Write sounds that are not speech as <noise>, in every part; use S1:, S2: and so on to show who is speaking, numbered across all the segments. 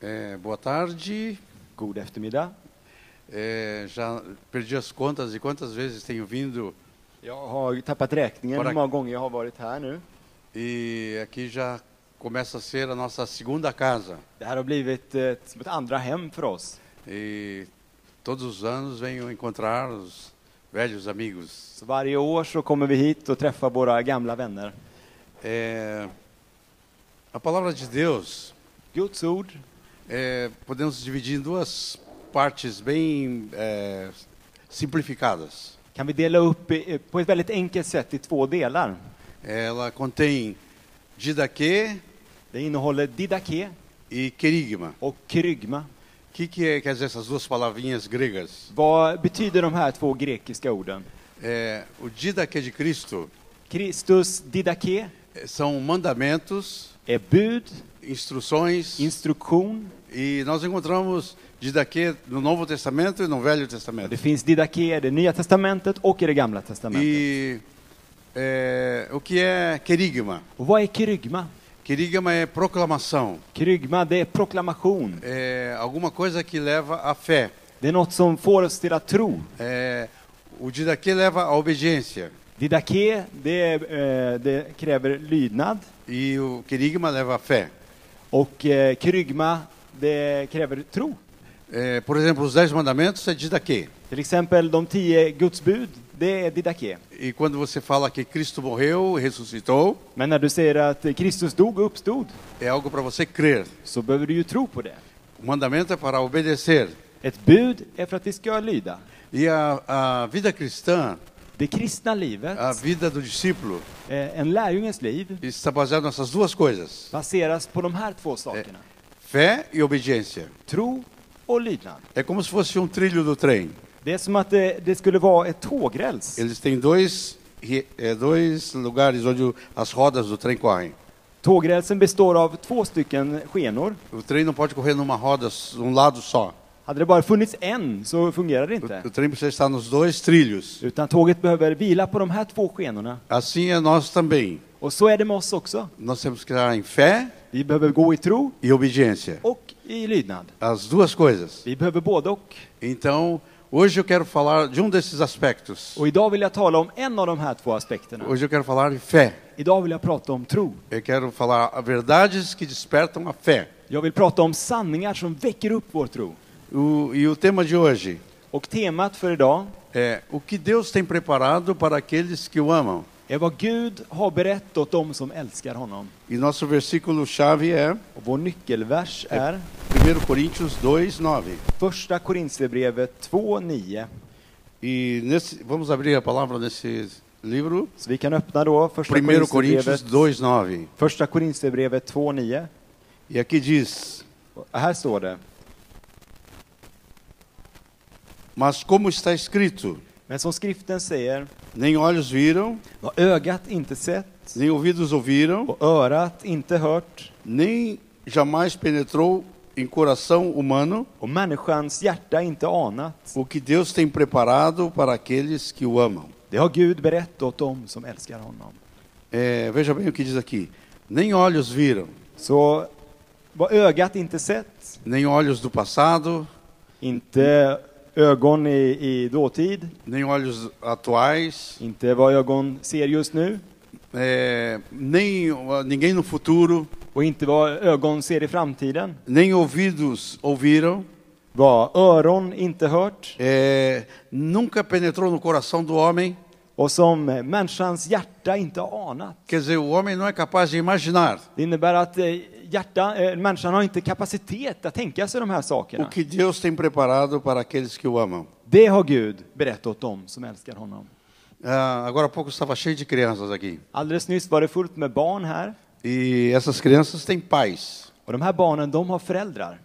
S1: É, boa tarde.
S2: God eftermiddag.
S1: Eh, já perdi as contas de quantas vezes tenho vindo
S2: Jag har tappat räkningen
S1: Bara-
S2: hur många gånger jag har varit här nu.
S1: e aqui já começa a ser a nossa segunda casa.
S2: Det här har blivit ett, som ett andra hem för oss.
S1: E todos os anos venho encontrar os velhos amigos.
S2: Så varje år så kommer vi hit och träffar våra gamla vänner.
S1: Eh, a palavra de Deus
S2: Guds ord
S1: eh, podemos dividir em duas partes bem eh, simplificadas.
S2: kan vi dela upp i, eh, på ett väldigt enkelt sätt i två delar.
S1: Ela contém didaquê
S2: Det innehåller didake
S1: e querigma.
S2: och krygma.
S1: O que, que é, quer dizer essas duas palavrinhas gregas?
S2: Vad betyder de här två grekiska orden?
S1: É, o didaquê de Cristo
S2: Kristus didake
S1: eh, são mandamentos,
S2: är bud,
S1: instruções,
S2: instruktion.
S1: e nós encontramos didaquê no Novo Testamento e no Velho
S2: Det
S1: Testamento.
S2: finns didake i det nya testamentet och i det gamla testamentet.
S1: E é, o que é querigma?
S2: Och vad är krygma?
S1: Querigma é proclamação,
S2: Krygma, det är proklamation.
S1: é alguma coisa que leva à fé.
S2: Det är något som får oss till att tro.
S1: É, o didaquê leva à obediência
S2: Didake, det, är, eh, det kräver lydnad.
S1: e o querigma leva à fé.
S2: Och eh, krygma, det kräver tro.
S1: É, por exemplo, os dez mandamentos é didaquê.
S2: Till exempel de tio Guds bud, det är didake.
S1: E quando você fala que Cristo morreu, ressuscitou,
S2: Men när du säger att eh, Kristus dog och uppstod,
S1: é algo para você crer.
S2: så behöver du ju tro på det.
S1: O mandamento é para obedecer.
S2: Ett bud är för att vi ska lyda.
S1: E a, a vida cristã,
S2: Det kristna livet,
S1: a vida do discípulo,
S2: eh, en lärjungens liv,
S1: está baseada nessas duas coisas:
S2: baseras på de här två sakerna.
S1: fé e obediência.
S2: Tro och lydnad.
S1: É como se fosse um trilho do trem.
S2: Det är som att eh, det, det skulle vara ett tågräls.
S1: Eles têm dois, re- é, dois lugares onde o- as rodas do trem correm.
S2: Tågrälsen består av två stycken skenor.
S1: O trem não pode correr numa roda, s- um lado só.
S2: Hade det bara funnits en så fungerar det inte.
S1: O, o trem precisa estar nos dois trilhos.
S2: Utan tåget behöver vila på de här två skenorna.
S1: Assim é nós também.
S2: Och så är det med oss också.
S1: Nós temos que estar em fé
S2: Vi behöver gå i tro
S1: e obediência.
S2: och i lydnad.
S1: As duas coisas.
S2: Vi behöver både och.
S1: Então, hoje eu quero falar de um desses aspectos.
S2: Och idag vill jag tala om en av de här två aspekterna.
S1: Hoje eu quero falar de fé.
S2: Idag vill jag prata om tro.
S1: Eu quero falar a verdades que despertam a fé.
S2: Jag vill prata om sanningar som väcker upp vår tro.
S1: O, e o tema de hoje
S2: Och temat för idag
S1: é o que Deus tem preparado para aqueles que o amam.
S2: är vad Gud har berättat åt dem som älskar honom.
S1: E nosso versículo chave é
S2: Och vår nyckelvers är
S1: 1 Coríntios 2, 9.
S2: Första Korintierbrevet 2.9.
S1: E nesse, vamos abrir a palavra nesse livro.
S2: Så vi kan öppna då Första
S1: 1 Coríntios
S2: Korintierbrevet
S1: 2, 9.
S2: Första Korintierbrevet 2.9.
S1: E aqui diz:
S2: Och Här står det.
S1: Mas como está escrito,
S2: Men som skriften säger,
S1: nem olhos viram,
S2: vad ögat inte sett
S1: nem ouvidos ouviram,
S2: och örat inte hört
S1: nem jamais penetrou em coração humano
S2: och människans hjärta inte anat,
S1: o que Deus tem preparado para aqueles que o amam.
S2: det har Gud berättat åt dem som älskar honom.
S1: É, veja bem o que diz aqui: nem olhos viram,
S2: Så vad ögat inte sett,
S1: nem olhos do passado,
S2: inte ögon i, i dåtid,
S1: nem olhos atuais,
S2: inte vad ögon ser just nu
S1: é, nem ó, ninguém no futuro,
S2: och inte vad ögon ser i framtiden,
S1: nem ouvidos ouviram,
S2: vad öron inte hört
S1: é, nunca penetrou no coração do homem.
S2: och som eh, människans hjärta inte har anat.
S1: Quer dizer, o homem não é capaz de imaginar
S2: Det innebär att eh, hjärta, eh, människan har inte kapacitet att tänka sig de här
S1: o
S2: sakerna.
S1: que Deus tem preparado para aqueles que o amam.
S2: Det har Gud berättat åt dem som älskar honom.
S1: Ah, agora há pouco estava cheio de crianças aqui.
S2: Alldeles nyss var det fullt med barn här
S1: E essas crianças têm pais.
S2: och de här barnen, de har föräldrar.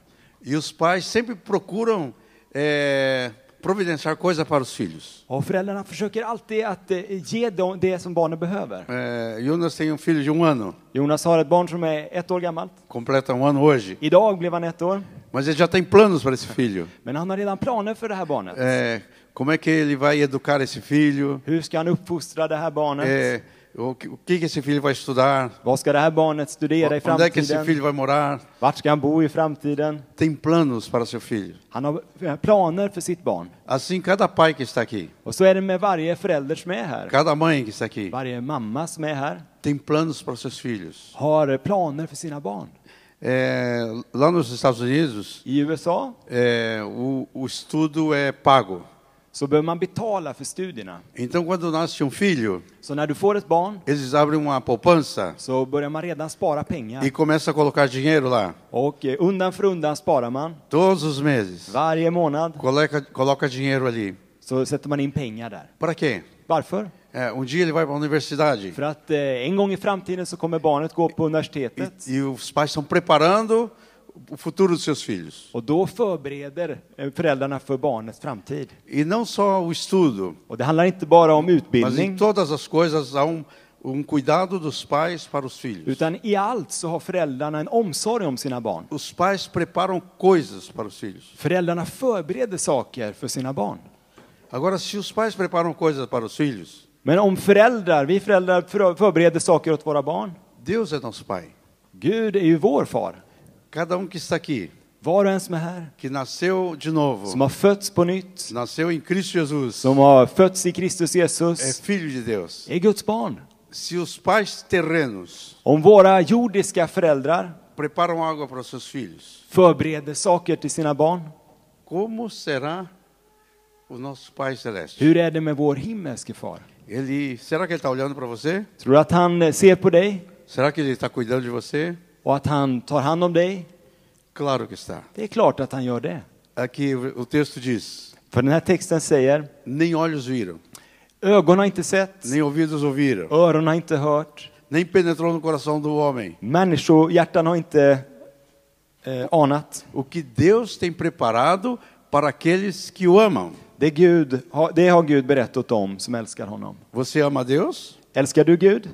S1: E os pais sempre procuram eh, providenciar coisa para os filhos.
S2: Och föräldrarna försöker alltid att eh, ge dem det som barnen behöver.
S1: Eh, Jonas tem um filho de um ano,
S2: Jonas har ett barn som är ett år gammalt.
S1: completa um ano hoje.
S2: Idag blev han ett år,
S1: Mas ele já tem planos para esse filho. é
S2: men han har redan planer för det här barnet.
S1: Eh, como é que ele vai educar esse filho?
S2: Hur ska han uppfostra det här barnet?
S1: Eh, o que, o que que esse filho vai estudar,
S2: Vad ska det här barnet studera i
S1: onde é que esse
S2: framtiden?
S1: filho vai morar.
S2: Vart ska han bo i framtiden?
S1: Tem planos para seu filho.
S2: Han har eh, planer för sitt barn.
S1: Assim, cada pai que está aqui,
S2: Och så är det med varje förälder som är här.
S1: cada mãe que está aqui,
S2: Varje mamma som är här
S1: tem planos para seus filhos.
S2: har eh, planer för sina barn.
S1: É, lá nos Estados Unidos,
S2: I USA
S1: é, o, o estudo é pago.
S2: så behöver man betala för studierna.
S1: Então, quando nasce um filho,
S2: Så när du får ett barn
S1: eles abrem uma poupança
S2: så börjar man redan spara pengar.
S1: e começam a colocar dinheiro lá,
S2: Och eh, undan för undan sparar man.
S1: todos os meses.
S2: Varje månad
S1: Coloca, coloca dinheiro ali.
S2: så sätter man in pengar där.
S1: Para quê?
S2: Varför?
S1: É, um dia ele vai para a universidade
S2: För att eh, en gång i framtiden så kommer barnet gå på universitetet.
S1: e, e os pais estão preparando o futuro dos seus filhos.
S2: Och då förbereder eh, föräldrarna för barnets framtid.
S1: E não só o estudo,
S2: Och det handlar inte bara om
S1: mas em
S2: utbildning,
S1: todas as coisas há um, um cuidado dos pais para os filhos.
S2: utan i allt så har föräldrarna en omsorg om sina barn.
S1: Os pais preparam coisas para os filhos.
S2: Föräldrarna förbereder saker för sina barn.
S1: Agora, se os pais preparam coisas para os filhos,
S2: Men om föräldrar, vi föräldrar för- förbereder saker åt våra barn.
S1: Deus é nosso pai.
S2: Gud är ju vår far.
S1: Cada um que está aqui,
S2: Var och en som är här,
S1: que nasceu de novo,
S2: som har fötts på nytt,
S1: nasceu em Cristo Jesus,
S2: som har fötts i Kristus
S1: é
S2: Jesus,
S1: filho de Deus.
S2: är Guds barn.
S1: Se os pais terrenos
S2: Om våra jordiska föräldrar
S1: preparam água para os seus filhos,
S2: förbereder saker till sina barn,
S1: como será o nosso Pai Celeste?
S2: hur är det med vår himmelske far?
S1: Ele, será que ele está olhando para você?
S2: Tror du att han eh, ser på dig
S1: Será que ele está cuidando de você?
S2: och att han tar hand om dig?
S1: Claro que está.
S2: Det är klart att han gör det.
S1: Aqui o texto diz:
S2: För den här texten säger,
S1: nem olhos viram,
S2: ögon har inte sett,
S1: nem ouvidos ouviram,
S2: öron har inte hört,
S1: nem penetrou no coração do homem
S2: människohjärtan har inte eh, anat.
S1: o que Deus tem preparado para aqueles que o amam.
S2: Det, Gud, har- det har Gud berättat om som älskar honom.
S1: Você ama Deus?
S2: Älskar du Gud?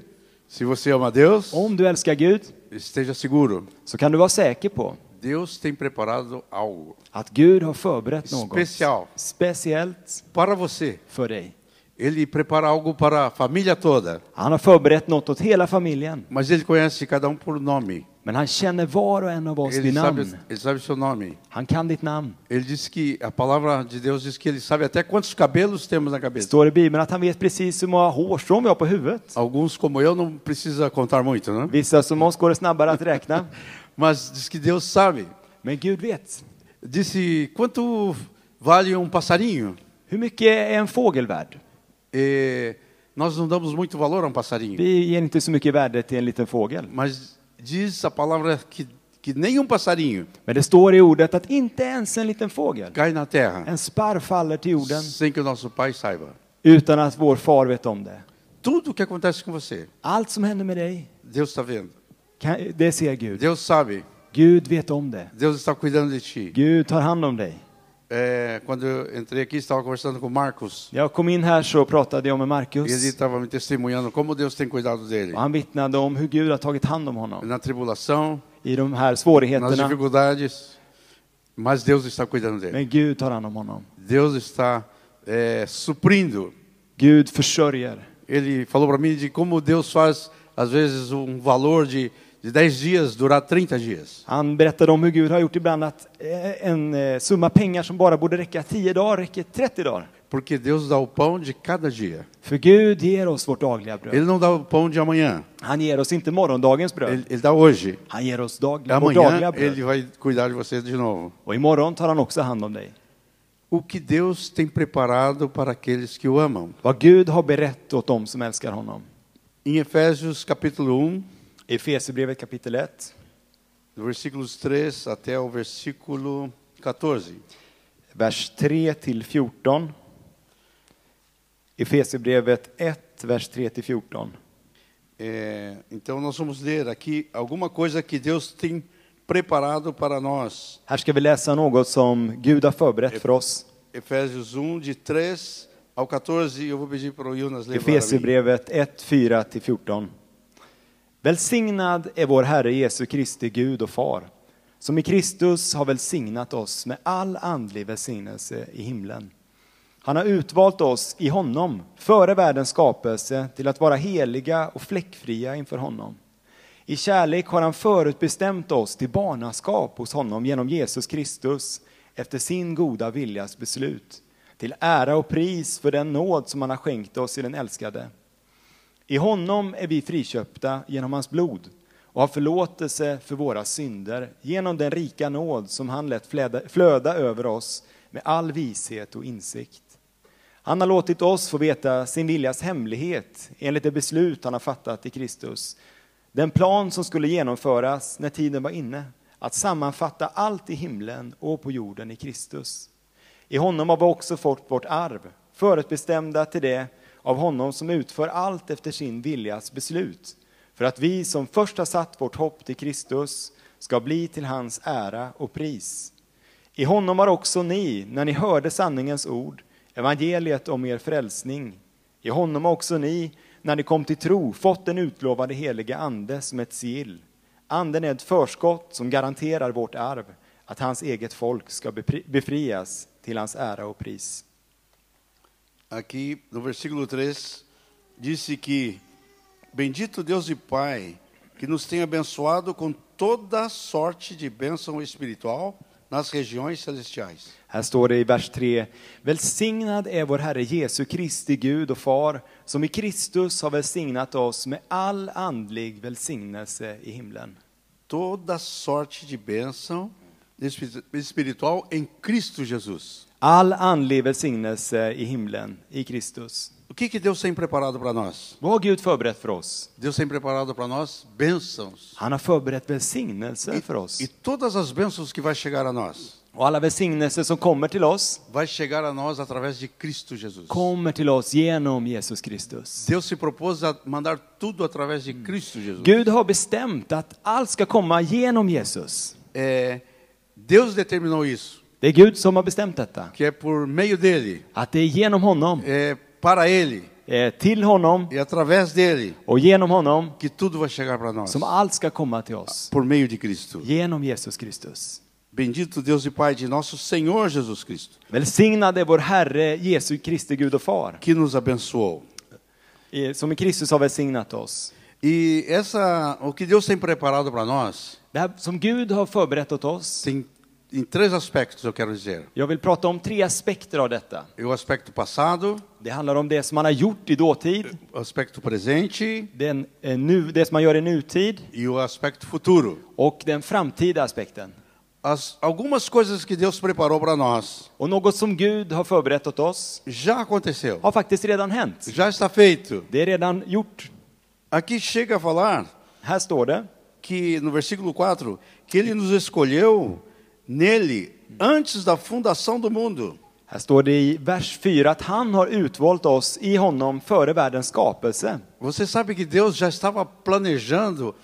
S1: Se você ama Deus,
S2: Om du älskar Gud
S1: esteja seguro.
S2: så kan du vara säker på
S1: Deus tem preparado algo
S2: att Gud har förberett något
S1: Special.
S2: speciellt
S1: para você.
S2: för dig.
S1: Ele prepara algo para a família toda,
S2: Han har förberett något åt hela familjen,
S1: mas ele conhece cada um por nome.
S2: men han känner var och en av oss
S1: Ele
S2: vid
S1: sabe,
S2: namn.
S1: ele sabe o seu nome.
S2: Han kan ditt namn.
S1: Ele diz que a palavra de Deus diz que ele sabe até quantos cabelos temos na
S2: Det
S1: cabeça.
S2: står i Bibeln att han vet precis hur många hårstrån vi har på huvudet.
S1: Alguns como eu não precisa contar muito, né?
S2: Vissa som oss går det snabbare att räkna.
S1: Mas diz que Deus sabe.
S2: Men Gud vet.
S1: Disse quanto vale um passarinho?
S2: Hur mycket är en fågel värd?
S1: Eh, nós não damos muito valor a um passarinho,
S2: Vi ger inte så mycket värde till en liten fågel.
S1: mas diz a palavra que que nenhum passarinho
S2: Men det står i ordet att inte ens en liten fågel,
S1: cai na terra
S2: en sparv faller till jorden
S1: sem que o nosso Pai saiba.
S2: utan att vår far vet om det.
S1: Tudo o que acontece com você,
S2: Allt som händer med dig,
S1: Deus está vendo.
S2: kan, det ser Gud.
S1: Deus sabe.
S2: Gud vet om det.
S1: Deus está cuidando de ti.
S2: Gud tar hand om dig.
S1: É, quando eu entrei aqui, estava conversando com o Marcos.
S2: Jag kom in här så pratade jag med
S1: E ele
S2: Markus
S1: estava me testemunhando como Deus tem cuidado dele.
S2: och han vittnade om hur Gud har tagit hand om honom
S1: Na tribulação,
S2: i de här
S1: nas
S2: svårigheterna.
S1: dificuldades. Mas Deus está cuidando dele.
S2: Men Gud tar hand om honom.
S1: Deus está é, suprindo.
S2: Gud försörjer.
S1: Ele falou para mim de como Deus faz, às vezes, um valor de, de 10 dias durar 30 dias.
S2: Han berättade om hur Gud har gjort ibland att eh, en eh, summa pengar som bara borde räcka 10 dagar räcker 30 dagar.
S1: Porque Deus dá o pão de cada dia.
S2: För Gud ger oss vårt dagliga bröd.
S1: Ele não dá o pão de amanhã,
S2: Han ger oss inte morgondagens bröd.
S1: ele, ele dá hoje.
S2: Han ger oss dagliga, vårt
S1: Amanhã
S2: dagliga bröd.
S1: ele vai cuidar de você de novo.
S2: Och imorgon tar han också hand om dig.
S1: O que Deus tem preparado para aqueles que o amam.
S2: Vad Gud har berett åt dem som älskar honom.
S1: Em Efésios capítulo 1,
S2: I Efesierbrevet kapitel 1,
S1: do versículos 3 até o versículo 14.
S2: vers 3 till 14. Efesierbrevet 1, vers 3 till 14.
S1: É, então nós vamos ler aqui alguma coisa que Deus tem preparado para nós.
S2: Här ska vi läsa något som Gud har förberett för oss.
S1: Efésios 1, de 3 ao 14. Eu vou pedir para o Jonas ler para mim.
S2: Efesierbrevet 1, 4-14. Välsignad är vår Herre Jesu Kristi Gud och Far, som i Kristus har välsignat oss med all andlig välsignelse i himlen. Han har utvalt oss i honom, före världens skapelse, till att vara heliga och fläckfria inför honom. I kärlek har han förutbestämt oss till barnaskap hos honom genom Jesus Kristus, efter sin goda viljas beslut, till ära och pris för den nåd som han har skänkt oss i den älskade. I honom är vi friköpta genom hans blod och har förlåtelse för våra synder genom den rika nåd som han lät fläda- flöda över oss med all vishet och insikt. Han har låtit oss få veta sin viljas hemlighet enligt det beslut han har fattat i Kristus. Den plan som skulle genomföras när tiden var inne, att sammanfatta allt i himlen och på jorden i Kristus. I honom har vi också fått vårt arv, förutbestämda till det av honom som utför allt efter sin viljas beslut, för att vi som först har satt vårt hopp till Kristus ska bli till hans ära och pris. I honom har också ni, när ni hörde sanningens ord, evangeliet om er frälsning. I honom har också ni, när ni kom till tro, fått den utlovade heliga ande som ett sigill. Anden är ett förskott som garanterar vårt arv, att hans eget folk ska befri- befrias till hans ära och pris.
S1: Aqui no versículo 3 disse que bendito Deus e Pai que nos tem abençoado com toda sorte de bênção espiritual nas regiões celestiais.
S2: Här står det i vers 3. Välsignad är vår Herre Jesu Kristi Gud och Far, som i Kristus har välsignat oss med all andlig välsignelse i himlen.
S1: Toda sorte de bênção espi- espiritual em Cristo Jesus.
S2: All andlig välsignelse i himlen, i Kristus.
S1: O que, que Deus tem preparado para nós?
S2: Vad har Gud förberett för oss?
S1: Deus tem preparado para nós bênçãos.
S2: Han har förberett välsignelse för oss.
S1: E todas as bênçãos que vai chegar a nós,
S2: Och alla välsignelser som kommer till oss,
S1: vai chegar a nós através de Cristo Jesus.
S2: kommer till oss genom Jesus Kristus.
S1: Deus se propôs a mandar tudo através de Cristo Jesus.
S2: Gud har bestämt att allt ska komma genom Jesus.
S1: É, Deus determinou isso,
S2: Det är Gud som har bestämt detta.
S1: que é por meio dele,
S2: Att det är genom honom,
S1: é para ele
S2: eh, till honom
S1: e através dele
S2: och genom honom
S1: que tudo vai chegar para nós.
S2: som allt ska komma till oss.
S1: Por meio de Cristo.
S2: Genom Jesus Kristus.
S1: Bendito Deus e Pai de nosso Senhor Jesus Cristo,
S2: Välsignad är vår Herre Jesu Kristi Gud och Far,
S1: que nos abençoou.
S2: eh, som i Kristus har välsignat oss.
S1: E essa, o que Deus tem preparado para nós,
S2: Det här som Gud har förberett åt oss,
S1: tem em três aspectos, eu quero dizer.
S2: jag vill prata om tre aspekter av detta.
S1: É O aspecto passado,
S2: Det handlar om det som man har gjort i dåtid,
S1: o aspecto presente
S2: den, eh, nu, det som man gör i nutid
S1: e o aspecto futuro.
S2: och den framtida aspekten.
S1: As, algumas coisas que Deus preparou para nós
S2: Och något som Gud har förberett åt oss
S1: já aconteceu,
S2: har faktiskt redan hänt.
S1: já está feito.
S2: Det är redan gjort.
S1: Aqui chega a falar
S2: Här står det,
S1: que no versículo 4 que ele nos escolheu nele antes da fundação do mundo.
S2: Här står det i vers 4 att han har utvalt oss i honom före världens skapelse.
S1: Você sabe que Deus já estava planejando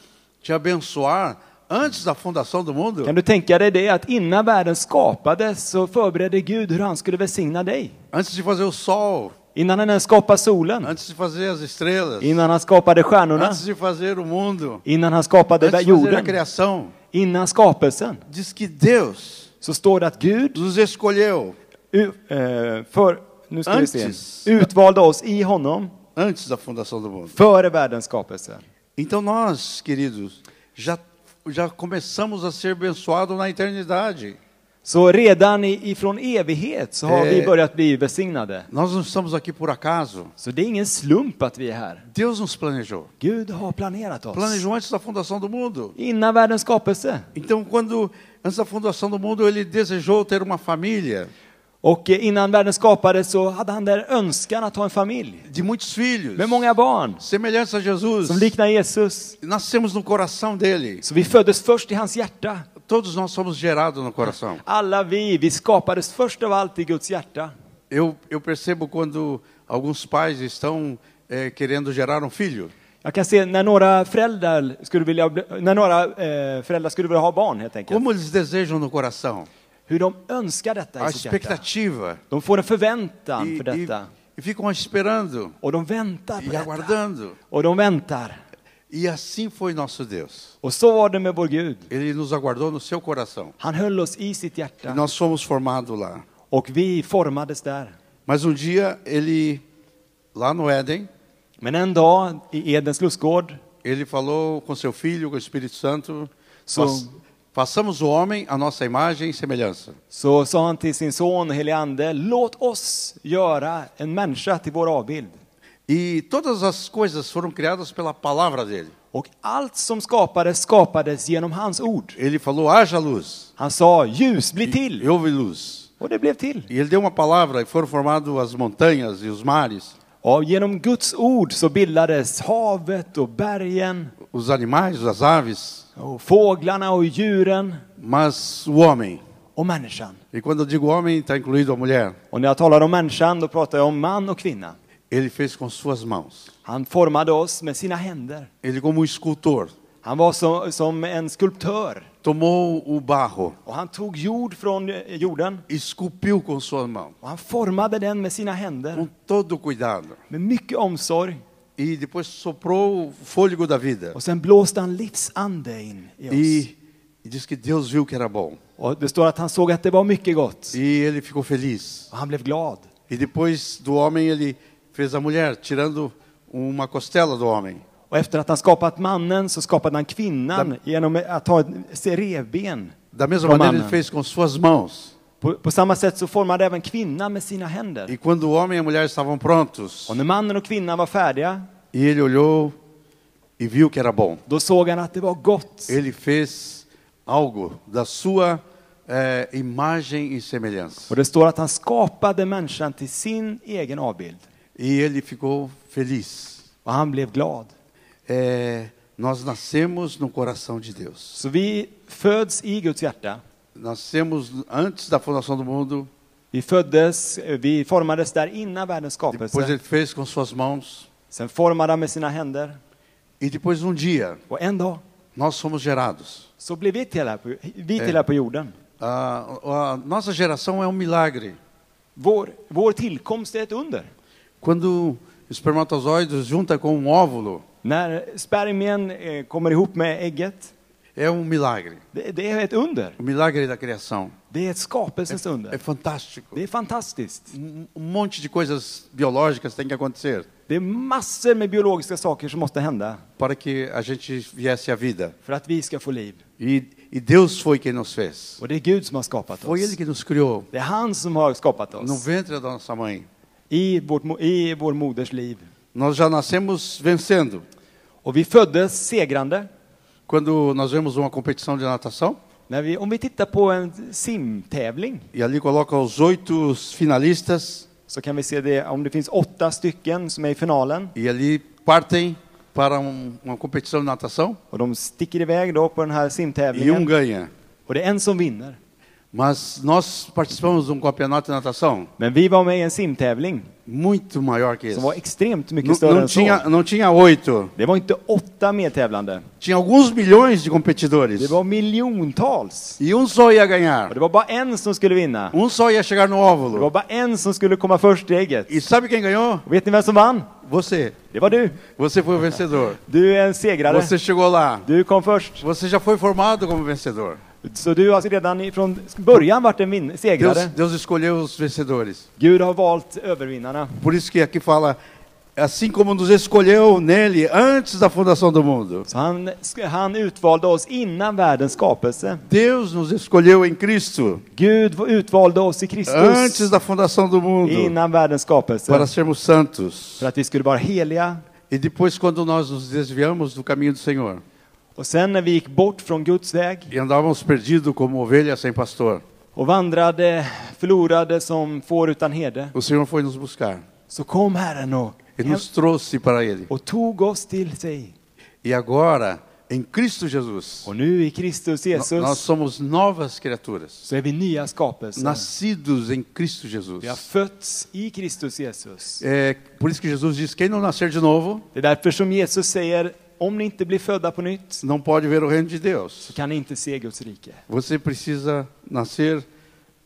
S1: te abençoar antes da fundação do mundo?
S2: Kan du tänka dig det att innan världen skapades så förberedde Gud hur han skulle välsigna dig?
S1: Antes de fazer o sol,
S2: Innan han ens skapade solen,
S1: antes de fazer as estrelas,
S2: innan han skapade stjärnorna,
S1: antes de fazer o mundo,
S2: innan han skapade
S1: antes
S2: vä-
S1: de fazer a
S2: jorden,
S1: criação.
S2: innan skapelsen,
S1: Diz que Deus
S2: så står det att Gud
S1: nos escolheu
S2: u- eh, för, nu ska vi
S1: Antes.
S2: se, utvalde oss i honom
S1: antes da fundação do mundo.
S2: före världens skapelse.
S1: Então nós, queridos, já já começamos a ser abençoados na eternidade.
S2: Så redan i- ifrån evighet så har vi
S1: Eh.
S2: börjat bli välsignade.
S1: Nós não estamos aqui por acaso.
S2: Så det är ingen slump att vi är här.
S1: Deus nos planejou.
S2: Gud har planerat oss.
S1: Planejou antes da fundação do mundo.
S2: Innan världens skapelse.
S1: Então, quando antes da fundação do mundo ele desejou ter uma família
S2: Och eh, innan världen skapades så hade han där önskan att ha en familj.
S1: de muitos filhos,
S2: Med många barn.
S1: semelhança a Jesus,
S2: Som liknar Jesus.
S1: nascemos no coração dele.
S2: Så vi föddes först i hans hjärta.
S1: Todos nós somos gerados no coração.
S2: Alla vi, vi skapades först av allt i Guds hjärta.
S1: Eu, eu percebo quando alguns pais estão eh, querendo gerar um filho.
S2: Jag kan se när några föräldrar skulle vilja, bli- när några eh, föräldrar skulle vilja ha barn helt enkelt.
S1: Como eles desejam no coração,
S2: Hur de önskar detta
S1: a
S2: i sitt hjärta.
S1: expectativa.
S2: De får en förväntan
S1: E,
S2: för detta.
S1: e, e ficam esperando
S2: Och de väntar på
S1: e
S2: detta.
S1: aguardando.
S2: Och de väntar.
S1: E assim foi nosso Deus.
S2: Och så var det med vår Gud.
S1: Ele nos aguardou no seu coração.
S2: Han höll oss i sitt
S1: E
S2: hjärta
S1: nós fomos formados lá.
S2: och vi formades där.
S1: Mas um dia ele, lá no Éden,
S2: Men en dag i Edens lustgård
S1: ele falou com seu filho, com o Espírito Santo,
S2: Så-
S1: "Faç- façamos o homem à nossa imagem e semelhança.
S2: så sa han till sin son helige ande, låt oss göra en människa till vår avbild.
S1: E todas as coisas foram criadas pela palavra dele.
S2: Och allt som skapades skapades genom hans ord.
S1: Ele falou, haja luz.
S2: Han sa ljus, bli
S1: E
S2: till!
S1: houve luz.
S2: Och det blev till.
S1: E ele deu uma palavra e foram formadas as montanhas e os mares,
S2: Och genom Guds ord så bildades havet och bergen,
S1: os animais, as aves,
S2: och fåglarna och djuren
S1: mas o homem.
S2: och människan.
S1: E quando eu digo homem, está incluído a mulher.
S2: Och när jag talar om människan då pratar jag om man och kvinna.
S1: Ele fez com suas mãos.
S2: Han formade oss med sina händer.
S1: Ele, como um escultor,
S2: Han var som, som en skulptör
S1: tomou o barro,
S2: och han tog jord från eh, jorden
S1: esculpiu com sua mão,
S2: och han formade den med sina
S1: com
S2: händer
S1: todo cuidado.
S2: med mycket omsorg
S1: E depois soprou o fôlego da vida.
S2: och sen blåste han livsande in i oss.
S1: E, e diz que Deus viu que era bom.
S2: Och det står att han såg att det var mycket gott
S1: E ele ficou feliz.
S2: och han blev glad.
S1: E depois do homem, ele fez a mulher, tirando uma costela do homem.
S2: Och efter att han skapat mannen så skapade han kvinnan genom att ta ett revben.
S1: Da mesma
S2: Romana.
S1: maneira, ele fez com suas mãos.
S2: På, på samma sätt så formade även kvinnan med sina händer.
S1: E quando o homem e a mulher estavam prontos,
S2: Och när mannen och kvinnan var färdiga,
S1: e ele olhou e viu que era bom.
S2: då såg han att det var gott.
S1: Ele fez algo da sua eh, imagem e semelhança.
S2: Och det står att han skapade människan till sin egen avbild.
S1: E ele ficou feliz.
S2: Och han blev glad.
S1: Eh, nós nascemos no coração de Deus.
S2: Så vi föds i Guds hjärta.
S1: Nascemos antes da fundação do mundo.
S2: Vi föddes, eh, vi formades där innan världens
S1: Depois
S2: skapelse.
S1: ele fez com suas mãos.
S2: Sen formade han med sina händer.
S1: E depois um dia
S2: Och en dag
S1: nós somos gerados.
S2: så blev vi till här på, vi till här på jorden.
S1: A, a nossa geração é um milagre.
S2: Vår, vår tillkomst är ett under.
S1: Quando espermatozoides junta com um óvulo,
S2: När spermien eh, kommer ihop med ägget,
S1: é um milagre.
S2: det, det är ett under.
S1: O milagre da criação.
S2: Det är ett skapelsens
S1: É
S2: under.
S1: fantástico.
S2: Det är fantastiskt.
S1: um um monte de coisas biológicas tem que acontecer
S2: Det är massor med biologiska saker som måste hända
S1: para que a gente viesse à vida.
S2: för att vi ska få liv.
S1: E, e Deus foi quem nos fez.
S2: Och det är Gud som har skapat
S1: Foi
S2: oss.
S1: Ele que nos criou
S2: Det är han som har skapat
S1: no
S2: oss
S1: ventre da nossa mãe.
S2: i, vårt, mo- i vår moders liv.
S1: Nós já nascemos vencendo.
S2: Och vi föddes segrande.
S1: Quando nós vemos uma competição de natação
S2: När vi, om vi tittar på en simtävling
S1: e ali coloca os oito finalistas
S2: så kan vi se det om det finns åtta stycken som är i finalen
S1: e ali partem para um, uma competição de natação
S2: och de sticker iväg då på den här
S1: e um
S2: simtävlingen
S1: ganha.
S2: och det är en som vinner.
S1: Mas nós participamos de um campeonato de natação
S2: Men vi var med i en simtävling
S1: muito maior que esse.
S2: som var extremt mycket
S1: Não,
S2: större
S1: não
S2: än så.
S1: tinha, não tinha oito,
S2: Det var inte åtta medtävlande,
S1: Tinha alguns milhões de competidores.
S2: det var miljontals.
S1: E um só ia
S2: Och
S1: ganhar.
S2: det var bara en som skulle vinna.
S1: Um só ia chegar no
S2: Det var
S1: óvulo.
S2: bara en som skulle komma först i ägget.
S1: E sabe quem ganhou?
S2: Och vet ni vem som vann?
S1: Você.
S2: Det var du.
S1: Você foi o vencedor.
S2: Du är en segrare.
S1: Você chegou lá.
S2: Du kom först.
S1: Você já foi formado como vencedor.
S2: Så du har alltså redan från början varit en vin-
S1: Deus,
S2: segrare.
S1: Deus escolheu os vencedores.
S2: Gud har valt övervinnarna.
S1: Por isso que aqui fala, assim como nos escolheu nele antes da fundação do mundo.
S2: Så han, han utvalde oss innan världens skapelse.
S1: Deus nos escolheu em Cristo
S2: Gud utvalde oss i Kristus
S1: antes da fundação do mundo
S2: innan världens
S1: para
S2: skapelse.
S1: sermos santos.
S2: För att vi skulle vara heliga.
S1: E depois, quando nós nos desviamos do caminho do Senhor
S2: Och sen när vi gick bort från Guds väg
S1: e andávamos perdidos como ovelhas sem pastor,
S2: och vandrade, förlorade som får utan herde,
S1: o Senhor foi nos buscar.
S2: så kom Herren och,
S1: Ele nos trouxe para Ele.
S2: och tog oss till sig.
S1: E agora, em Cristo Jesus,
S2: Och nu i Kristus
S1: no- nós
S2: Jesus
S1: somos novas criaturas.
S2: så är vi nya skapelser.
S1: Nascidos em Cristo
S2: Vi har
S1: Jesus.
S2: fötts i Kristus Jesus.
S1: É, por isso que Jesus diz: quem não nascer de novo
S2: Det är därför som Jesus säger, om ni inte blir födda på nytt
S1: não pode ver o reino de
S2: så
S1: Deus.
S2: kan ni inte se Guds rike.
S1: Você precisa nascer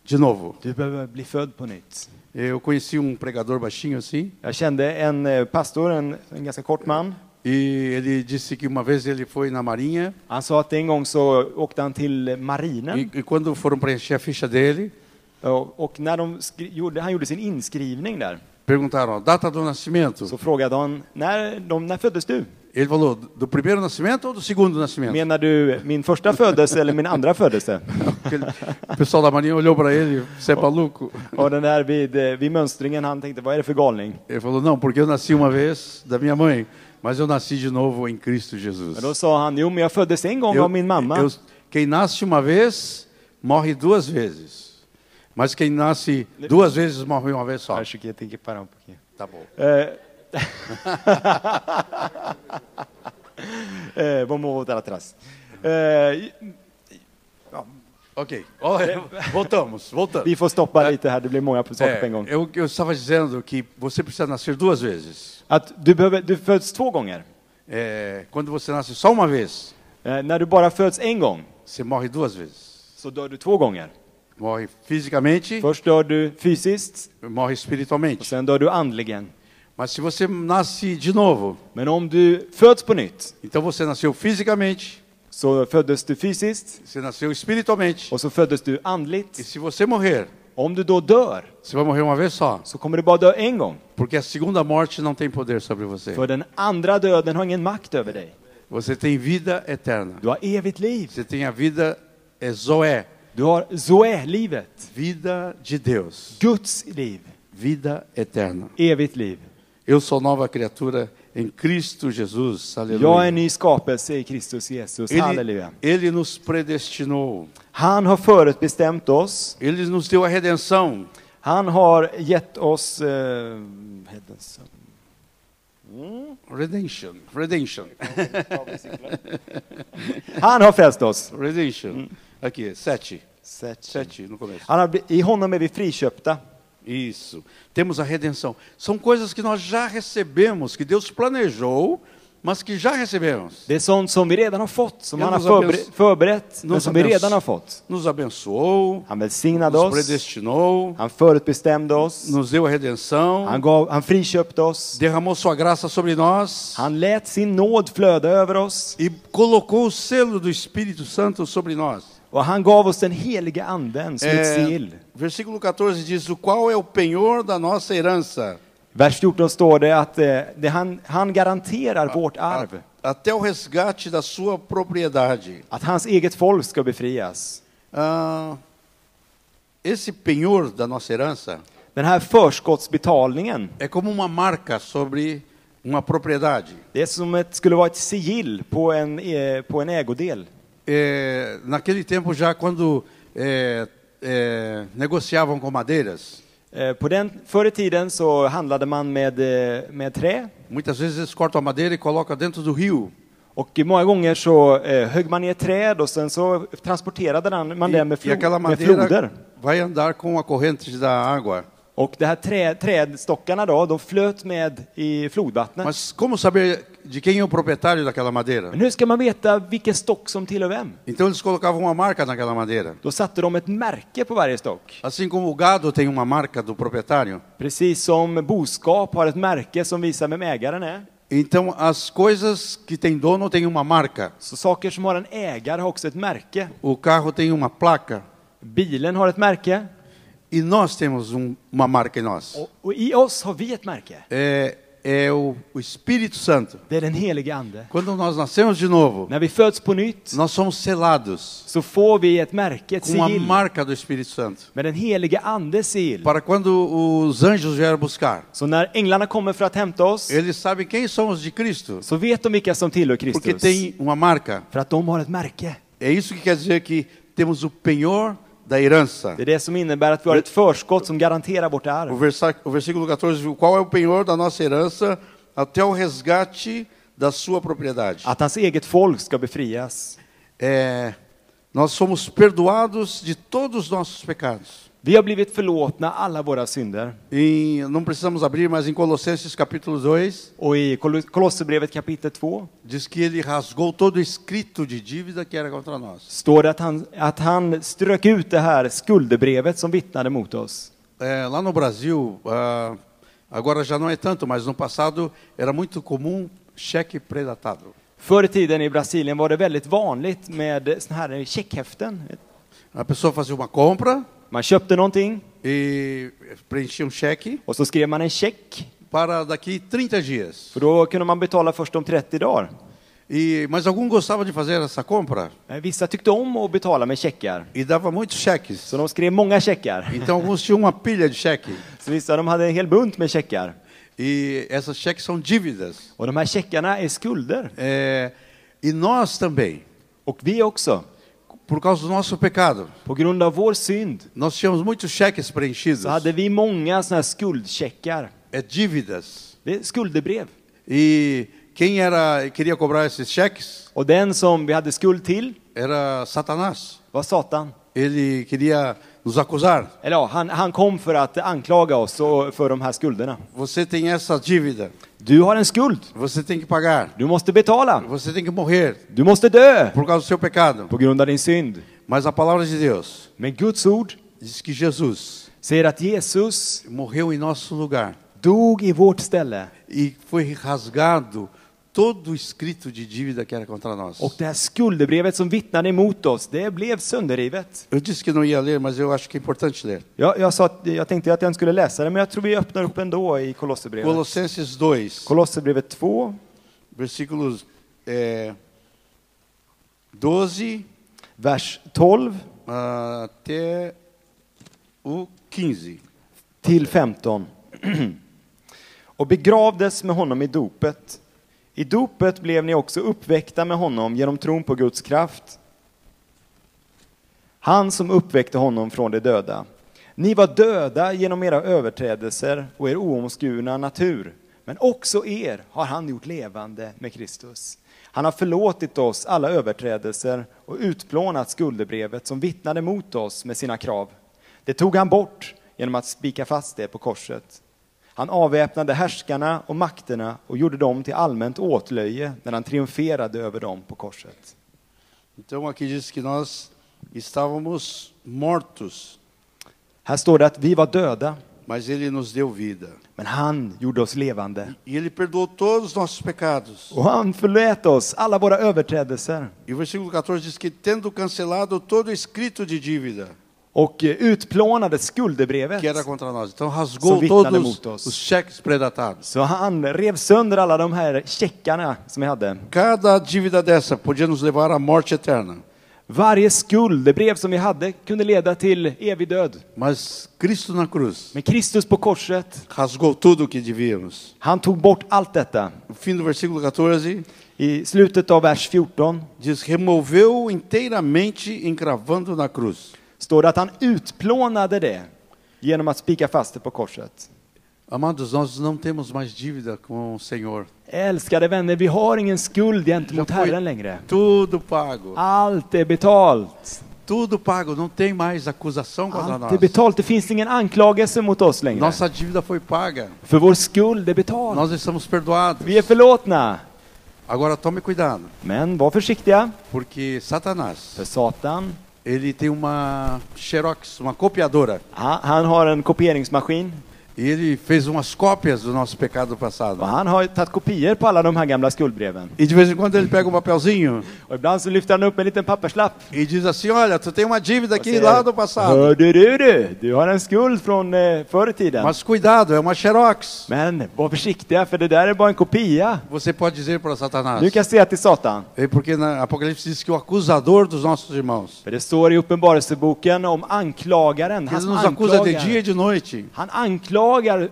S1: de novo.
S2: Du behöver bli född på nytt.
S1: Eu conheci um pregador baixinho assim,
S2: Jag kände en eh, pastor, en, en ganska kort man.
S1: e ele disse que uma vez ele foi na Marinha,
S2: Han sa att en gång så åkte han till marinen
S1: e, e quando foram preencher a ficha dele,
S2: Ja, Och när de skri- gjorde, han gjorde sin inskrivning där
S1: Perguntaram a data do nascimento.
S2: så frågade han, när, de, när föddes du?
S1: Ele falou do primeiro nascimento ou do segundo nascimento?
S2: Menar du min första födelse eller min andra födelse?
S1: Aquele- O pessoal da Marinha olhou para ele, você é maluco?
S2: Och den där vid, eh, vid mönstringen, han tänkte, vad är det för galning?
S1: Ele falou, não, porque eu nasci uma vez da minha mãe, mas eu nasci de novo em Cristo Jesus.
S2: Men då sa han, jo men jag föddes en gång av min mamma.
S1: eu- quem nasce uma vez, morre duas vezes. Mas quem nasce duas vezes, morre uma vez só.
S2: Kanske jag tänker para på det.
S1: Tá bom.
S2: Eh, <laughs> vamos voltar atrás. Eh,
S1: Ok. Olha, voltamos, voltamos.
S2: vi får stoppa lite här, det blir många saker på
S1: É,
S2: en gång.
S1: eu, eu estava dizendo que você precisa nascer duas vezes.
S2: Att du, behöver, du föds två gånger.
S1: É, quando você nasce só uma vez,
S2: Eh, när du bara föds en gång
S1: você morre duas vezes.
S2: så dör du två gånger.
S1: Morre fisicamente,
S2: Först dör du fysiskt
S1: morre
S2: och
S1: espiritualmente.
S2: sen dör du andligen.
S1: Mas se você nasce de novo,
S2: Men om du föds på nytt
S1: então você nasceu fisicamente,
S2: så föddes du fysiskt
S1: você nasceu espiritualmente.
S2: och så föddes du
S1: E
S2: andligt.
S1: se você morrer,
S2: Om du då dör
S1: você vai morrer uma vez só.
S2: så kommer du bara dö en gång.
S1: Porque a segunda morte não tem poder sobre você.
S2: För den andra döden har ingen makt över dig.
S1: Você tem vida eterna.
S2: Du har evigt liv.
S1: Você tem a vida é Zoé,
S2: Du har Zoe-livet.
S1: vida de Deus,
S2: Guds liv.
S1: vida eterna.
S2: Evigt liv.
S1: Eu sou nova criatura em Cristo Jesus.
S2: Jag är en
S1: Aleluia.
S2: ny skapelse i Kristus Jesus.
S1: Ele,
S2: Halleluja.
S1: ele nos predestinou.
S2: Han har förutbestämt oss.
S1: Ele nos deu a redenção.
S2: Han har gett oss... Eh, <laughs> hedens-
S1: Redemption. Redemption.
S2: han har fäst oss.
S1: Redemption. Aqui, sete. Sete no começo.
S2: Han har, bli- I honom är vi friköpta.
S1: Isso. Temos a redenção. São coisas que nós já recebemos, que Deus planejou, mas que já recebemos.
S2: Det är sånt som vi redan har fått, som
S1: Ja,
S2: han har
S1: nos har bens-
S2: förberett, förberett men
S1: nos
S2: som
S1: har
S2: vi redan
S1: bens-
S2: har fått.
S1: Nos abençoou,
S2: Han välsignade
S1: nos
S2: oss,
S1: predestinou,
S2: han förutbestämde oss,
S1: nos deu a redenção,
S2: han, gav, han friköpte oss,
S1: derramou sua graça sobre nós
S2: han lät sin nåd flöda över oss
S1: e colocou o selo do Espírito Santo sobre nós.
S2: och han gav oss den heliga anden som ett
S1: É,
S2: sigill.
S1: versículo 14 diz: O qual é o penhor da nossa herança?
S2: Vers 14 står det att eh, det han, han garanterar vårt arv,
S1: A- até o resgate da sua propriedade.
S2: att hans eget folk ska befrias.
S1: Ah, esse penhor da nossa herança
S2: Den här förskottsbetalningen,
S1: É como uma marca sobre uma propriedade.
S2: det är som ett, skulle vara ett sigill på en, eh, på en ägodel.
S1: É, naquele tempo já, quando é, é, negociavam com madeiras,
S2: Eh, På den, förr i tiden så handlade man med, eh, med trä
S1: muitas vezes eles cortam a madeira e colocam dentro do rio.
S2: och många gånger så eh, högg man ner träd och sen så transporterade den- man det med,
S1: E, e aquela
S2: flo- med
S1: madeira
S2: floder.
S1: vai andar com a corrente da água.
S2: Och de här trä, trädstockarna då, de flöt med i flodvattnet.
S1: Mas como saber de quem é o proprietário daquela madeira?
S2: Men hur ska man veta vilken stock som tillhör vem?
S1: Então eles colocavam uma marca naquela madeira.
S2: Då satte de ett märke på varje stock.
S1: Assim como o gado tem uma marca do proprietário,
S2: Precis som boskap har ett märke som visar vem ägaren är.
S1: então as coisas que têm dono têm uma marca.
S2: Så saker som har en ägare har också ett märke.
S1: O carro tem uma placa.
S2: Bilen har ett märke.
S1: E nós temos um- uma marca em nós.
S2: Och, och i oss har vi ett märke.
S1: É, é o, o Espírito Santo.
S2: Det är den helige Ande.
S1: Quando nós nascemos de novo,
S2: När vi föds på nytt
S1: nós somos selados
S2: så får vi ett märke, ett
S1: com a
S2: sigill,
S1: marca do Espírito Santo.
S2: med den helige Andes sigill.
S1: Para quando os anjos vieram buscar,
S2: Så när änglarna kommer för att hämta oss
S1: eles sabem quem são os de Cristo,
S2: så vet de vilka som tillhör
S1: porque
S2: Kristus.
S1: tem uma marca.
S2: För att de har ett märke.
S1: É isso que quer dizer que temos o penhor da herança.
S2: Det är det som innebär att vi har ett förskott som garanterar vårt
S1: O,
S2: arv.
S1: versa, o versículo 14, o qual é o penhor da nossa herança até o resgate da sua propriedade.
S2: Att hans eget folk ska befrias.
S1: É, nós somos perdoados de todos os nossos pecados.
S2: Vi har blivit förlåtna alla våra synder.
S1: Em- não precisamos abrir, mas em Colossenses capítulo 2,
S2: Och i Kol- Kolosserbrevet kapitel 2
S1: diz que ele rasgou todo o escrito de dívida que era contra nós.
S2: står det att han, att han strök ut det här skuldebrevet som vittnade mot oss.
S1: É, lá no Brasil, ah, agora já não é tanto, mas no passado era muito comum cheque predatado.
S2: Förr i tiden i Brasilien var det väldigt vanligt med såna här checkhäften.
S1: A pessoa fazia uma compra,
S2: Man köpte någonting
S1: e preenchia um cheque
S2: och så skrev man en check.
S1: para daqui 30 dias.
S2: För då kunde man betala först om 30 dagar.
S1: E mas algum gostava de fazer essa compra
S2: Eh, Vissa tyckte om att betala med checkar.
S1: e dava muitos cheques.
S2: Så de skrev många checkar.
S1: Então alguns tinham uma pilha de cheque
S2: Så vissa de hade en hel bunt med checkar.
S1: e essas cheques são dívidas.
S2: Och de här checkarna är skulder.
S1: É, e nós também,
S2: Och vi också.
S1: por causa do nosso pecado,
S2: På grund av vår synd
S1: nós tínhamos muitos cheques preenchidos.
S2: så hade vi många sådana här skuldcheckar.
S1: É dívidas.
S2: Det är skuldebrev.
S1: E quem era queria cobrar esses cheques
S2: Och den som vi hade skuld till
S1: era Satanás.
S2: var Satan.
S1: Ele queria nos acusar.
S2: Eller ja, han, han kom för att anklaga oss och, för de här skulderna.
S1: Você tem essa dívida,
S2: Du har en skuld.
S1: você tem que pagar,
S2: Du måste betala.
S1: você tem que morrer
S2: Du måste dö
S1: por causa do seu pecado.
S2: på grund av din synd.
S1: Mas a palavra de Deus
S2: Men Guds ord
S1: diz que Jesus
S2: säger att Jesus
S1: morreu em nosso lugar
S2: dog i vårt ställe.
S1: e foi rasgado todo o escrito de dívida que era contra nós.
S2: Och det här skuldebrevet som vittnade emot oss, det blev sönderrivet.
S1: Eu disse que não ia ler, mas eu acho que é importante ler.
S2: Jag, jag, sa att, jag tänkte att jag inte skulle läsa det, men jag tror vi öppnar upp ändå i Kolosserbrevet.
S1: Colossenses 2,
S2: Kolosserbrevet 2,
S1: versículos eh, 12
S2: vers 12
S1: ah, até o 15.
S2: till 15. <clears throat> och begravdes med honom i dopet. I dopet blev ni också uppväckta med honom genom tron på Guds kraft. Han som uppväckte honom från de döda. Ni var döda genom era överträdelser och er oomskurna natur. Men också er har han gjort levande med Kristus. Han har förlåtit oss alla överträdelser och utplånat skuldebrevet som vittnade mot oss med sina krav. Det tog han bort genom att spika fast det på korset. Han avväpnade härskarna och makterna och gjorde dem till allmänt åtlöje när han triumferade över dem på korset.
S1: Então aqui diz que nós estávamos mortos,
S2: Här står det att vi var döda,
S1: mas Ele nos deu vida.
S2: men han gjorde oss levande.
S1: E Ele perdoou todos os nossos pecados.
S2: Och han förlät oss alla våra överträdelser
S1: E o versículo 14 diz que, tendo cancelado todo escrito de dívida
S2: och eh, utplånade
S1: que era
S2: skuldebrevet.
S1: contra nós, então rasgou
S2: São
S1: todos
S2: vittnade mot oss.
S1: os cheques predatados.
S2: Så han rev sönder alla de här checkarna som vi hade.
S1: Cada dívida dessa podia nos levar à morte eterna,
S2: Varje skuldebrev som vi hade kunde leda till evig död.
S1: mas Cristo na cruz
S2: Men Kristus på korset,
S1: rasgou tudo o que devíamos.
S2: han tog bort allt detta.
S1: O fim do versículo 14
S2: I slutet av vers 14
S1: diz: removeu inteiramente, encravando na cruz.
S2: står det att han utplånade det genom att spika fast det på korset.
S1: Amados, nós não temos mais dívida com o Senhor.
S2: Älskade vänner, vi har ingen skuld gentemot Herren längre.
S1: Tudo pago.
S2: Allt är betalt.
S1: Tudo pago. Não tem mais acusação contra
S2: Allt
S1: nós.
S2: är betalt. Det finns ingen anklagelse mot oss längre.
S1: Nossa dívida foi paga.
S2: För vår skuld är betald.
S1: Nós estamos perdoados.
S2: Vi är förlåtna.
S1: Agora tome cuidado,
S2: Men var försiktiga,
S1: porque Satanás,
S2: för Satan,
S1: ele tem uma xerox, uma copiadora.
S2: han, han har en kopieringsmaskin
S1: E ele fez umas cópias do nosso pecado passado.
S2: och han har tagit kopior på alla de här gamla skuldbreven.
S1: E de vez em quando ele pega um papelzinho
S2: Och ibland så lyfter han upp en liten papperslapp
S1: e diz assim: Olha, tu tem uma dívida
S2: och
S1: aqui lá do
S2: säger
S1: passado.
S2: Hörde du du, du har en skuld från eh, förr i tiden.
S1: Mas cuidado, é uma xerox.
S2: Men var försiktiga för det där är bara en kopia.
S1: Você pode dizer para Satanás.
S2: Du kan säga till Satan.
S1: É porque na Apocalipse diz que o acusador dos nossos irmãos,
S2: För det står i Uppenbarelseboken om anklagaren.
S1: que
S2: Han,
S1: ele
S2: som
S1: nos acusa de dia e
S2: anklagar,
S1: de noite,
S2: han anklagar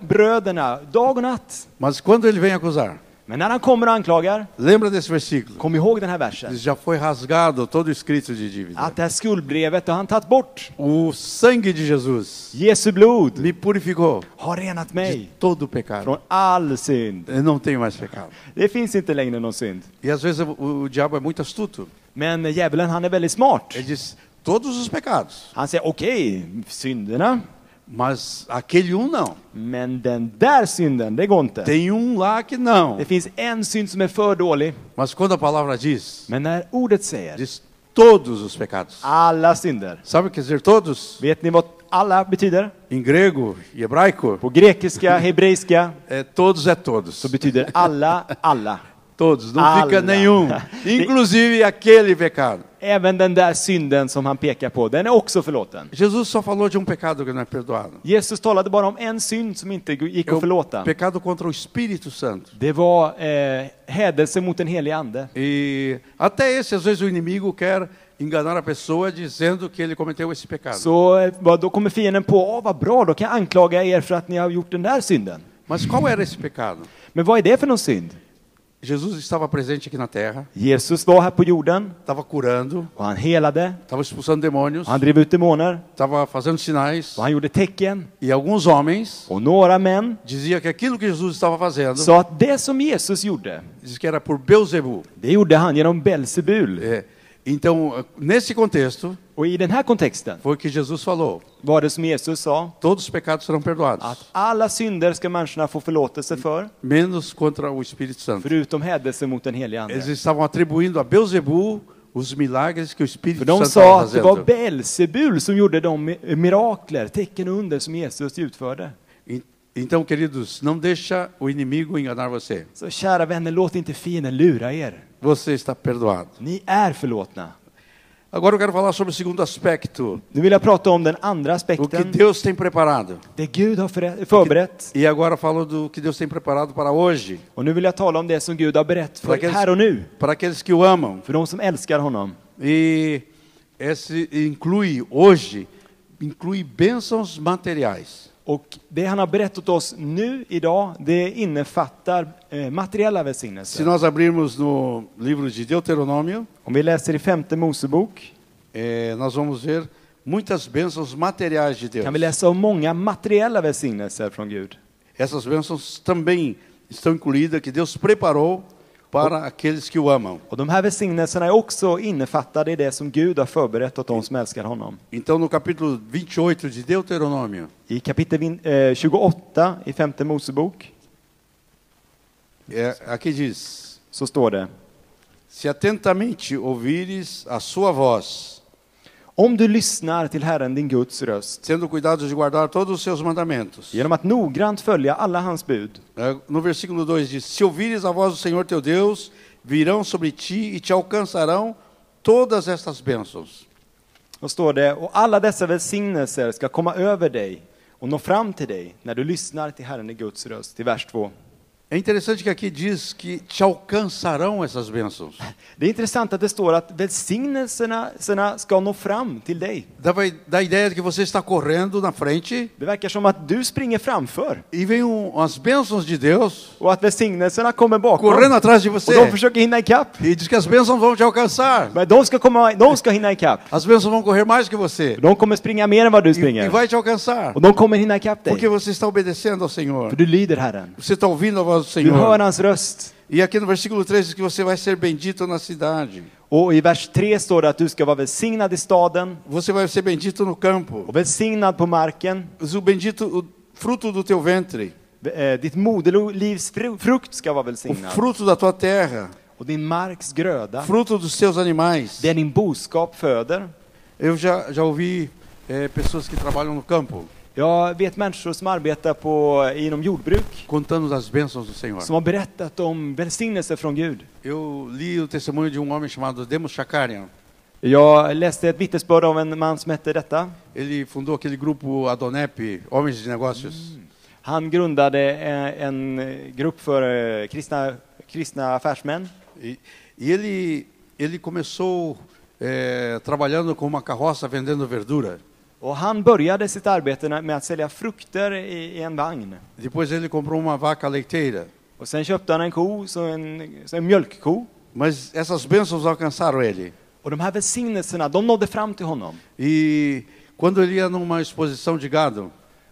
S2: bröderna dag och natt.
S1: mas quando ele vem acusar,
S2: Men när han kommer och anklagar,
S1: lembra desse versículo?
S2: kom ihåg den här versen.
S1: Diz, Já foi rasgado todo o escrito de dívida.
S2: Att det här skuldbrevet har han tagit bort.
S1: O sangue de Jesus
S2: Jesu blod
S1: me purificou
S2: har renat
S1: de
S2: mig
S1: todo o pecado.
S2: från all synd.
S1: Eu não tenho mais pecado.
S2: Det finns inte längre någon synd.
S1: E às vezes o, o diabo é muito astuto.
S2: Men djävulen han är väldigt smart.
S1: Ele diz todos os pecados,
S2: Han säger okej, synderna.
S1: mas aquele um não.
S2: Men den där synden, det går inte.
S1: Tem um lá que não.
S2: Det finns en synd som är för dålig.
S1: Mas quando a palavra diz,
S2: Men när ordet säger
S1: diz todos os pecados.
S2: alla synder.
S1: Sabe o que quer dizer todos?
S2: Vet ni vad alla betyder?
S1: Em grego e hebraico,
S2: På grekiska, hebreiska
S1: É, todos é todos.
S2: så betyder alla alla.
S1: Todos, não
S2: Alla.
S1: fica nenhum. Inclusive aquele pecado.
S2: Även den där synden som han pekar på, den är också förlåten.
S1: Jesus só falou de um pecado que não é perdoado.
S2: Jesus talade bara om en synd som inte gick
S1: É
S2: att
S1: o
S2: förlåta.
S1: pecado contra o Espírito Santo.
S2: Det var eh, hädelse mot den helige ande.
S1: E até esse, às vezes, o inimigo quer enganar a pessoa dizendo que ele cometeu esse pecado.
S2: Så eh, vad, då kommer fienden på, åh vad bra, då kan jag anklaga er för att ni har gjort den där synden.
S1: Mas qual era esse pecado?
S2: Men vad är det för någon synd?
S1: Jesus estava presente aqui na terra,
S2: Jesus var här på jorden
S1: estava curando,
S2: och han helade,
S1: estava expulsando demônios,
S2: och han drev ut demoner,
S1: estava fazendo sinais.
S2: och han gjorde tecken.
S1: E alguns homens
S2: Och några män
S1: diziam que aquilo que Jesus estava fazendo,
S2: sa att det som Jesus gjorde,
S1: diz que era por Beuzebu.
S2: det gjorde han genom Belsebul.
S1: É, Então, nesse contexto,
S2: Och i den här kontexten
S1: foi que Jesus falou:
S2: var det som Jesus sa,
S1: todos os pecados serão perdoados,
S2: att alla synder ska människorna få förlåtelse för,
S1: menos contra o Espírito Santo.
S2: förutom hädelse mot den helige ande.
S1: Eles estavam atribuindo a Beuzebu os milagres que o Espírito
S2: För de
S1: Santo estava
S2: sa att det var
S1: fazendo.
S2: Belsebul som gjorde de mi- mirakler, tecken och under som Jesus utförde.
S1: En- Então, queridos, não deixa o inimigo enganar você.
S2: Så kära vänner, låt inte fienden lura er.
S1: Você está perdoado.
S2: Ni är förlåtna.
S1: Agora eu quero falar sobre o segundo aspecto,
S2: Nu vill jag prata om den andra
S1: o que
S2: aspekten,
S1: Deus tem preparado.
S2: det Gud har förä- förberett.
S1: E agora falo do que Deus tem preparado para hoje,
S2: Och nu vill jag tala om det som Gud har berett
S1: För
S2: för
S1: vilken-
S2: här och nu,
S1: para aqueles que o amam.
S2: för de som älskar honom.
S1: E esse inclui hoje inclui bênçãos materiais.
S2: Och det han har berett åt oss nu, idag, det innefattar eh, materiella
S1: Se
S2: välsignelser.
S1: nós abrirmos no livro de Deuteronômio,
S2: Om vi läser i femte Mosebok
S1: eh, nós vamos ver muitas bênçãos materiais de Deus.
S2: kan vi läsa om många materiella välsignelser från Gud.
S1: Essas bênçãos também estão incluídas que Deus preparou para aqueles que o amam.
S2: Och de här välsignelserna är också innefattade i det som Gud har förberett åt de som älskar honom.
S1: Então, no capítulo 28 de Deuteronômio,
S2: I kapitel vin- eh, 28 i femte Mosebok
S1: é, aqui diz:
S2: så står det
S1: Se atentamente ouvires a sua voz,
S2: Om du lyssnar till Herren din Guds röst
S1: tendo cuidado de guardar todos os seus mandamentos.
S2: genom att noggrant följa alla hans bud.
S1: É, No versículo 2 diz: Se ouvires a voz do Senhor teu Deus, virão sobre ti e te alcançarão todas estas bênçãos.
S2: Då står det Och alla dessa välsignelser ska komma över dig och nå fram till dig när du lyssnar till Herren din Guds röst. Till vers 2.
S1: É interessante que aqui diz que te alcançarão essas bênçãos.
S2: Det är intressant att det står att välsignelserna sina ska nå fram till dig.
S1: Dá, vai- dá a ideia de que você está correndo na frente
S2: Det verkar som att du springer framför
S1: e vem um, as bênçãos de Deus
S2: och att välsignelserna kommer bakom.
S1: correndo atrás de
S2: Och de
S1: você.
S2: försöker hinna ikapp.
S1: E diz que as bênçãos vão te alcançar.
S2: Men de ska, komma, de ska hinna ikapp.
S1: As bênçãos vão correr mais que você.
S2: De kommer springa mer än vad du
S1: E, e
S2: springer.
S1: vai te alcançar.
S2: Och de kommer hinna ikapp
S1: Porque
S2: dig.
S1: você está obedecendo ao Senhor.
S2: För du lyder Herren.
S1: Você está ouvindo a voz do
S2: Du hör
S1: Senhor.
S2: hans röst.
S1: E aqui no versículo 3 diz que você vai ser bendito na cidade.
S2: Och i vers 3 står det att du ska vara välsignad i staden
S1: Você vai ser bendito no campo.
S2: och välsignad på marken.
S1: O bendito o fruto do teu ventre,
S2: Eh, Ditt moderlivs fru- frukt ska vara
S1: o
S2: välsignad.
S1: fruto da tua terra,
S2: Och din marks gröda.
S1: fruto dos teus animais.
S2: Det din boskap föder.
S1: Eu já já ouvi eh, pessoas que trabalham no campo
S2: Jag vet människor som arbetar på, inom jordbruk
S1: contando das bênçãos do Senhor.
S2: som har berättat om välsignelser från Gud.
S1: Eu li o testemunho de um homem chamado Demos Chakarian.
S2: Jag läste ett vittnesbörd av en man som hette detta.
S1: Ele fundou aquele grupo Adonep, Homens de Negócios.
S2: Han grundade eh, en eh, grupp för eh, kristna, kristna affärsmän.
S1: E, e ele ele começou eh, trabalhando com uma carroça vendendo verdura.
S2: Och han började sitt arbete na- med att sälja frukter i, i en vagn.
S1: Depois ele comprou uma vaca leiteira.
S2: Och sen köpte han en ko, så en, så en mjölkko.
S1: Mas essas bênçãos alcançaram ele.
S2: Och de här välsignelserna, de nådde fram till honom.
S1: E quando ele ia numa exposição de gado,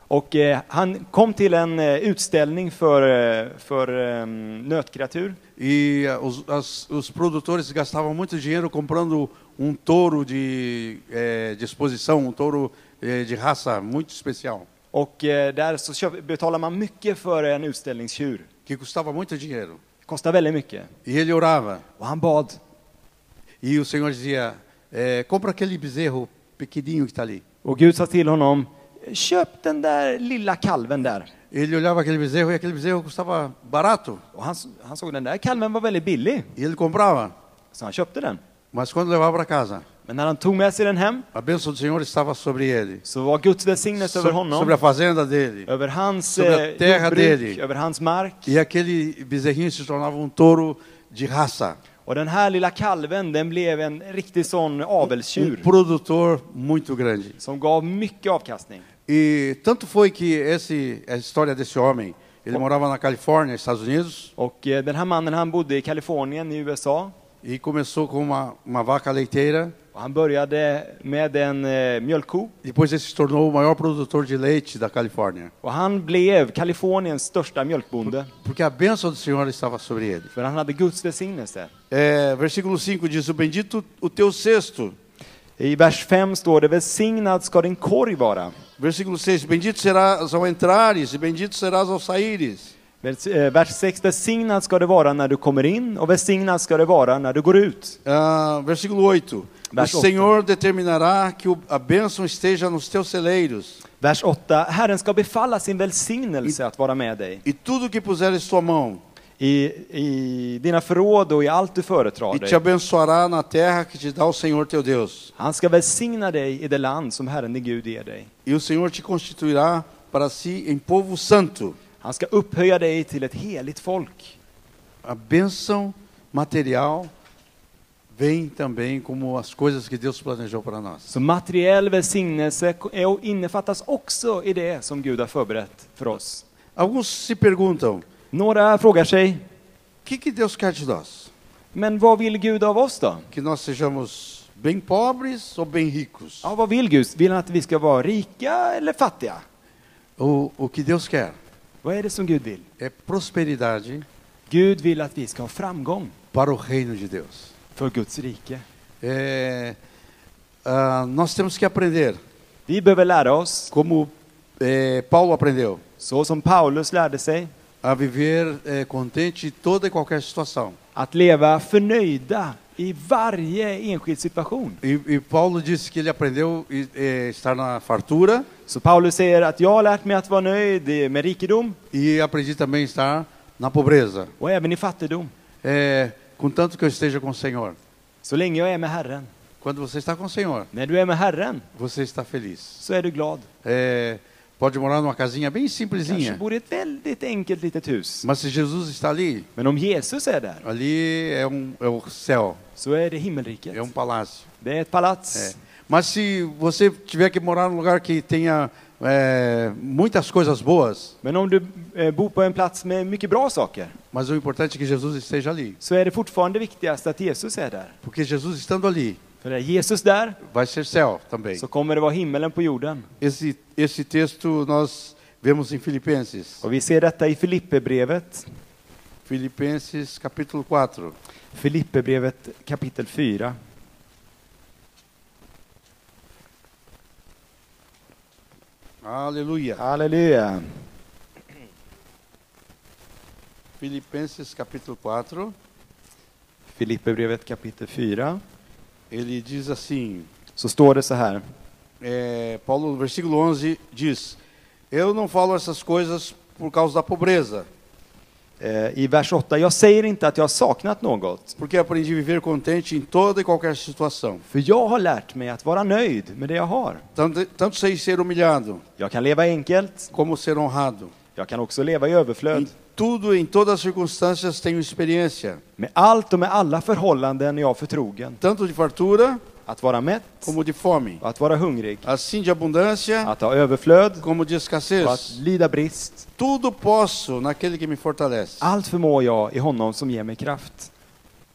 S2: Och eh, han kom till en eh, utställning för, eh, för eh, nötkreatur.
S1: e ah, os, as- os produtores gastavam muito dinheiro comprando um touro de, eh, de exposição, um touro eh, de raça muito especial,
S2: Och eh, där så köp, betalar man mycket för en utställningstjur.
S1: que custava muito dinheiro.
S2: Det kostar väldigt mycket.
S1: E ele orava,
S2: Och han bad.
S1: e o Senhor dizia, eh, compra aquele bezerro pequenininho que está ali.
S2: Och Gud sa till honom, köp den där lilla kalven där.
S1: Ele olhava aquele bezerro e aquele bezerro custava barato
S2: Och han, han såg den där kalven var väldigt billig,
S1: e ele comprava.
S2: så han köpte den.
S1: Mas quando levava para casa,
S2: Men när han tog med sig den hem
S1: a bênção do Senhor estava sobre ele,
S2: så var Guds välsignelse över
S1: so- sobre
S2: honom,
S1: a fazenda dele.
S2: över hans
S1: Sobre a
S2: eh,
S1: terra
S2: jordbruk,
S1: dele.
S2: över hans mark.
S1: E aquele bezerrinho se tornava um touro de raça,
S2: Och den här lilla kalven, den blev en riktig sån
S1: um
S2: avelstjur
S1: produtor muito grande.
S2: som gav mycket avkastning.
S1: E tanto foi que esse, a história desse homem, ele morava na Califórnia, Estados Unidos,
S2: Och eh, den här mannen, han bodde i Kalifornien i USA.
S1: e começou com uma, uma vaca leiteira,
S2: Och han började med en eh, mjölkko
S1: depois ele se tornou o maior produtor de leite da Califórnia,
S2: och han blev Kaliforniens största mjölkbonde.
S1: porque a bênção do Senhor estava sobre ele.
S2: För han hade Guds välsignelse.
S1: É, versículo 5 diz: O bendito o teu cesto.
S2: I vers 5 står det välsignad ska din korg vara.
S1: Versículo 6: Bendito serás ao entrares, e bendito serás ao saíres.
S2: Vers- eh, Vers 6, välsignad ska det vara när du kommer in och välsignad ska det vara när du går ut.
S1: Ah, versículo 8: O
S2: Verso oito.
S1: Senhor determinará que o- a bênção esteja nos teus celeiros,
S2: Vers 8, Herren ska befalla sin välsignelse att vara med dig.
S1: e tudo que puseres tua mão,
S2: I, i dina förråd och i allt du företar
S1: e te
S2: dig.
S1: abençoará na terra que te dá o Senhor teu Deus.
S2: Han ska välsigna dig i det land som Herren din Gud ger dig.
S1: E o Senhor te constituirá para si em povo santo.
S2: Han ska upphöja dig till ett heligt folk.
S1: A bênção material vem também como as coisas que Deus planejou para nós.
S2: Så materiell välsignelse ko- är och innefattas också i det som Gud har förberett för oss.
S1: Alguns se perguntam:
S2: Några frågar sig,
S1: o que, que Deus quer de nós?
S2: men vad vill Gud av oss då?
S1: Que nós sejamos bem pobres ou bem ricos?
S2: Ja, vad vill Gud? Vill han att vi ska vara rika eller fattiga?
S1: O, o que Deus quer
S2: Vad är det som Gud vill?
S1: é prosperidade
S2: Gud vill att vi ska ha framgång
S1: para o reino de Deus.
S2: för Guds rike.
S1: É, ah, nós temos que aprender,
S2: Vi behöver lära oss,
S1: como é, Paulo aprendeu,
S2: så som Paulus lärde sig,
S1: a viver é, contente em toda e qualquer situação.
S2: att leva förnöjda i varje enskild situation.
S1: E, e Paulo disse que ele aprendeu e, é, estar na fartura
S2: Så Paulus säger att jag har lärt mig att vara nöjd med rikedom
S1: e aprendi também a estar na pobreza.
S2: och även i fattigdom,
S1: É, contanto que eu esteja com o Senhor.
S2: så länge jag är med Herren.
S1: Quando você está com o Senhor,
S2: När du är med Herren
S1: você está feliz.
S2: så är du glad.
S1: É, pode morar numa casinha bem
S2: Kanske
S1: simplesinha,
S2: bor i ett väldigt enkelt litet hus.
S1: mas se Jesus está ali,
S2: Men om Jesus är där
S1: ali é, um, é o céu,
S2: så är det
S1: é um
S2: himmelriket.
S1: palácio.
S2: Det är ett
S1: É.
S2: palats.
S1: Mas se você tiver que morar num lugar que tenha é, muitas coisas boas,
S2: Men om du eh, bor på en plats med mycket bra saker
S1: mas o importante é que Jesus esteja ali.
S2: så är det fortfarande viktigast att Jesus är där.
S1: Porque Jesus estando ali,
S2: För är Jesus där
S1: vai ser céu também.
S2: så kommer det vara himmelen på jorden.
S1: Esse, esse texto nós vemos em Filipenses.
S2: Och vi ser detta i Filipperbrevet,
S1: Filipenses capítulo 4.
S2: Filipperbrevet kapitel 4.
S1: Aleluia.
S2: Halleluja!
S1: Filipenses capítulo 4,
S2: Filipperbrevet kapitel 4.
S1: ele diz assim,
S2: Så står det så här.
S1: é, Paulo, no versículo 11, diz, eu não falo essas coisas por causa da pobreza,
S2: eh, i vers 8. Jag säger inte att jag har saknat något,
S1: porque aprendi a viver contente em toda e qualquer situação.
S2: för jag har lärt mig att vara nöjd med det jag har.
S1: Tanto, tanto sei ser humilhado,
S2: Jag kan leva enkelt,
S1: como ser honrado.
S2: jag kan också leva i
S1: Em
S2: överflöd.
S1: tudo, em todas as circunstâncias, tenho experiência,
S2: Med allt och med alla förhållanden är jag förtrogen.
S1: tanto de fartura
S2: Att vara mätt,
S1: como de fome,
S2: och att vara hungrig,
S1: assim de abundância
S2: att ha överflöd
S1: como de
S2: och att
S1: escassez.
S2: lida brist.
S1: Tudo posso naquele que me fortalece.
S2: Allt förmår jag i honom som ger mig kraft.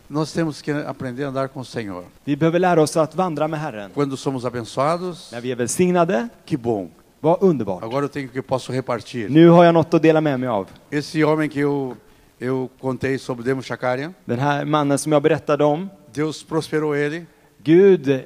S1: Nós temos que aprender a andar com o Senhor.
S2: Vi behöver lära oss att vandra med Herren.
S1: Quando somos abençoados,
S2: När vi är välsignade,
S1: Né? que bom.
S2: vad underbart.
S1: Agora eu tenho que eu posso repartir.
S2: Nu har jag något att dela med mig av.
S1: Esse homem que eu eu contei sobre Demo Shakarian,
S2: Den här mannen som jag berättade om,
S1: Deus prosperou ele,
S2: Gud eh,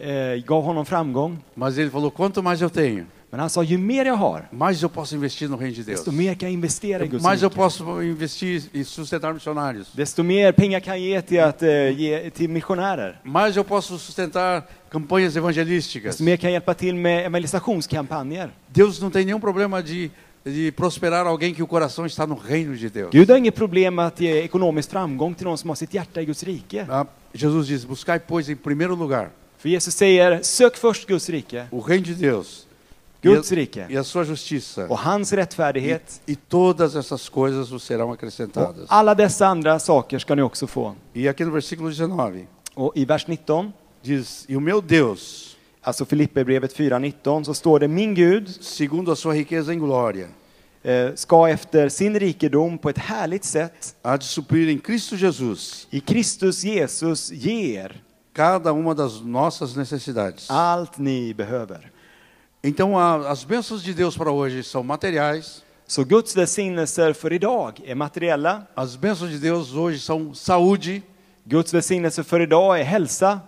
S2: gav honom framgång.
S1: mas ele falou: "Quanto mais eu tenho,
S2: Men Men han sa, ju mer jag har,
S1: mais eu posso investir no reino de Deus.
S2: desto mer kan jag investera i Guds
S1: Mais eu
S2: rike.
S1: posso investir e sustentar missionários.
S2: Desto mer pengar kan jag ge till, att, eh, ge till missionärer.
S1: Mais eu posso sustentar campanhas evangelísticas.
S2: Desto mer kan jag hjälpa till med evangelisationskampanjer.
S1: Deus não tem nenhum problema de, de prosperar alguém que o coração está no reino de Deus.
S2: Gud har inget problem att ge ekonomisk framgång till någon som har sitt hjärta i Guds rike.
S1: Ah, Jesus diz: Buscai, pois, em primeiro lugar
S2: För Jesus säger, sök först Guds rike
S1: o reino de Deus e
S2: Guds
S1: a,
S2: rike.
S1: e a sua justiça.
S2: och hans
S1: E,
S2: rättfärdighet.
S1: e todas essas coisas vos serão
S2: Och
S1: acrescentadas.
S2: alla dessa andra saker ska ni också få.
S1: E aqui no versículo 19
S2: Och i vers 19,
S1: diz: E o meu Deus,
S2: alltså Filipperbrevet 4.19, så står det Min Gud
S1: segundo a sua riqueza em glória,
S2: eh, ska efter sin rikedom på ett härligt sätt
S1: há de suprir em Cristo Jesus
S2: i Kristus Jesus ge er
S1: cada uma das nossas necessidades.
S2: allt ni behöver.
S1: Então, a, as bênçãos de Deus para hoje são materiais,
S2: Så Guds välsignelser för idag är materiella,
S1: as bênçãos de Deus hoje são saúde.
S2: Guds välsignelser för idag är hälsa.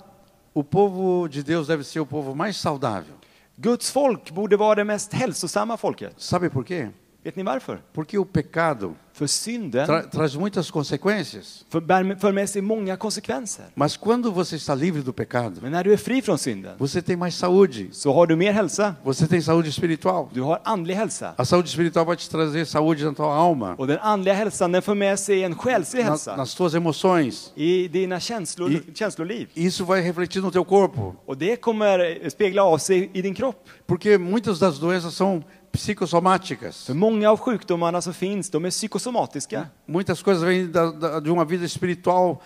S1: O povo de Deus deve ser o povo mais saudável.
S2: Guds folk borde vara det mest hälsosamma folket.
S1: Sabe por quê?
S2: Vet ni varför?
S1: Porque o pecado
S2: För synden
S1: tra traz muitas consequências.
S2: för, bär, för med sig många konsekvenser.
S1: Mas quando você está livre do pecado,
S2: Men när du är fri från synden
S1: você tem mais saúde.
S2: så har du mer hälsa.
S1: Você tem saúde espiritual.
S2: Du har andlig hälsa.
S1: A saúde espiritual vai te trazer saúde na tua alma,
S2: Och den andliga hälsan den för med sig en själslig
S1: na,
S2: hälsa
S1: nas tuas emoções.
S2: i dina känslor,
S1: I-
S2: känsloliv.
S1: Isso vai refletir no teu corpo.
S2: Och det kommer spegla av sig i din kropp.
S1: Porque muitas das doenças são psicossomáticas.
S2: För många av sjukdomarna som finns, de är psykosomatiska.
S1: Muitas coisas vêm da, da, de uma vida espiritual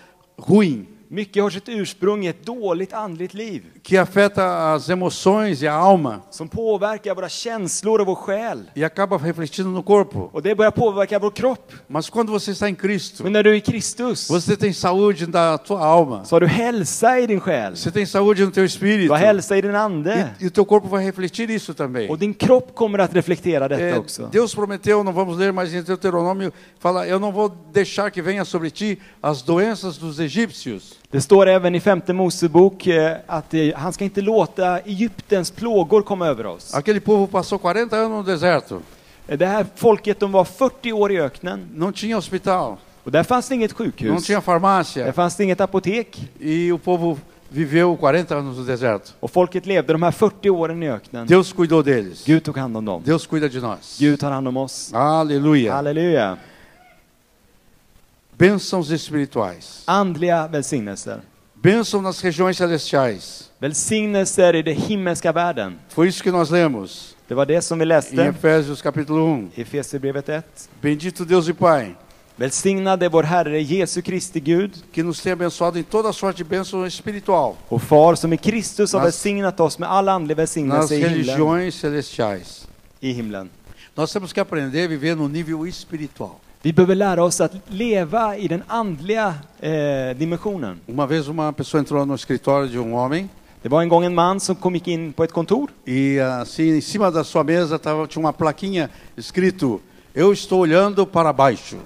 S1: ruim,
S2: Mycket har sitt ursprung i ett dåligt andligt liv
S1: que afeta as emoções e a alma
S2: som påverkar våra känslor och vår själ.
S1: e acaba refletindo no corpo.
S2: Och det börjar påverka vår kropp.
S1: Mas quando você está em Cristo,
S2: Men när du är i Kristus
S1: você tem saúde da tua alma,
S2: så har du hälsa i din själ.
S1: você tem saúde no teu
S2: Du
S1: espírito
S2: har hälsa i din ande.
S1: e, e o teu corpo vai refletir isso também.
S2: Och din kropp kommer att reflektera
S1: É,
S2: detta också.
S1: Deus prometeu, não vamos ler, mas em Deuteronômio fala: Eu não vou deixar que venha sobre ti as doenças dos egípcios,
S2: Det står även i femte Mosebok eh, att eh, han ska inte låta Egyptens plågor komma över oss.
S1: Aquele povo passou 40 anos no deserto,
S2: Eh, Det här folket de var 40 år i öknen
S1: não tinha hospital,
S2: och där fanns det inget
S1: não
S2: sjukhus.
S1: tinha
S2: Där
S1: farmácia,
S2: fanns det inget apotek
S1: e o povo viveu 40 anos no deserto.
S2: och folket levde de här 40 åren i öknen.
S1: Deus cuidou deles,
S2: Gud tog hand om dem.
S1: Deus cuida de nós.
S2: Gud tar hand om oss.
S1: Aleluia.
S2: Halleluja.
S1: Bênçãos espirituais,
S2: Andliga välsignelser.
S1: bênção nas regiões celestiais.
S2: Välsignelser i den himmelska världen.
S1: Foi isso que nós lemos
S2: Det var det som vi
S1: em
S2: läste
S1: Efésios capítulo 1.
S2: i Efesierbrevet 1.
S1: Bendito Deus e Pai,
S2: Välsignade vår Herre Jesu Kristi Gud
S1: que nos tem abençoado em toda sorte de bênção espiritual.
S2: och Far som i Kristus har
S1: Nas-
S2: välsignat oss med all andlig
S1: nas
S2: välsignelse i himlen.
S1: religiões celestiais.
S2: i himlen.
S1: Nós temos que aprender a viver no nível espiritual.
S2: Vi behöver lära oss att leva i den andliga eh, dimensionen.
S1: Uma vez uma pessoa entrou no escritório de um homem
S2: Det var en gång en man som kom gick in på ett kontor
S1: e assim em cima da sua mesa tava, tinha uma plaquinha escrito Eu estou olhando para baixo.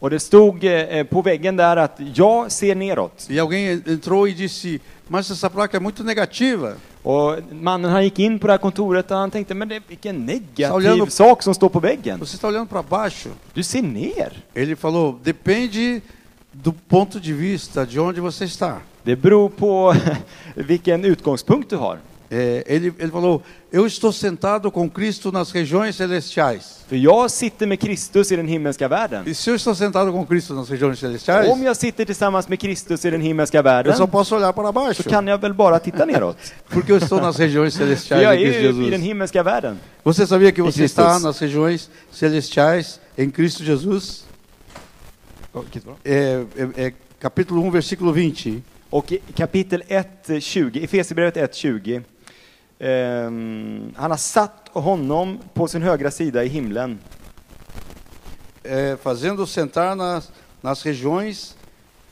S2: och det stod eh, eh, på väggen där att jag ser neråt.
S1: E alguém entrou e disse, mas essa placa är muito negativa.
S2: Och mannen han gick in på det här kontoret och han tänkte men det, vilken negativ
S1: Sauliano-
S2: sak som står på väggen.
S1: Você está olhando para baixo.
S2: Du ser ner.
S1: Ele falou, depende do ponto de vista de onde você está.
S2: Det beror på <laughs> vilken utgångspunkt du har.
S1: É, ele, ele falou, eu estou sentado com Cristo nas regiões celestiais.
S2: För jag sitter med Kristus i den himmelska världen.
S1: E se eu estou sentado com Cristo nas regiões celestiais,
S2: Om jag sitter tillsammans med Kristus i den himmelska
S1: eu só
S2: världen
S1: posso olhar para baixo,
S2: så kan jag väl bara titta neråt.
S1: porque eu estou nas regiões
S2: För
S1: celestiais
S2: jag
S1: em
S2: är
S1: Cristo
S2: ju i den
S1: Jesus.
S2: himmelska världen.
S1: Você sabia que você
S2: Cristo.
S1: está nas regiões celestiais em Cristo Jesus? É, é, é, capítulo 1, versículo 20.
S2: Och i kapitel 1, 20, Efesierbrevet 1, 20. ehm, han har satt honom på sin högra sida i himlen.
S1: É, fazendo sentar nas, nas regiões,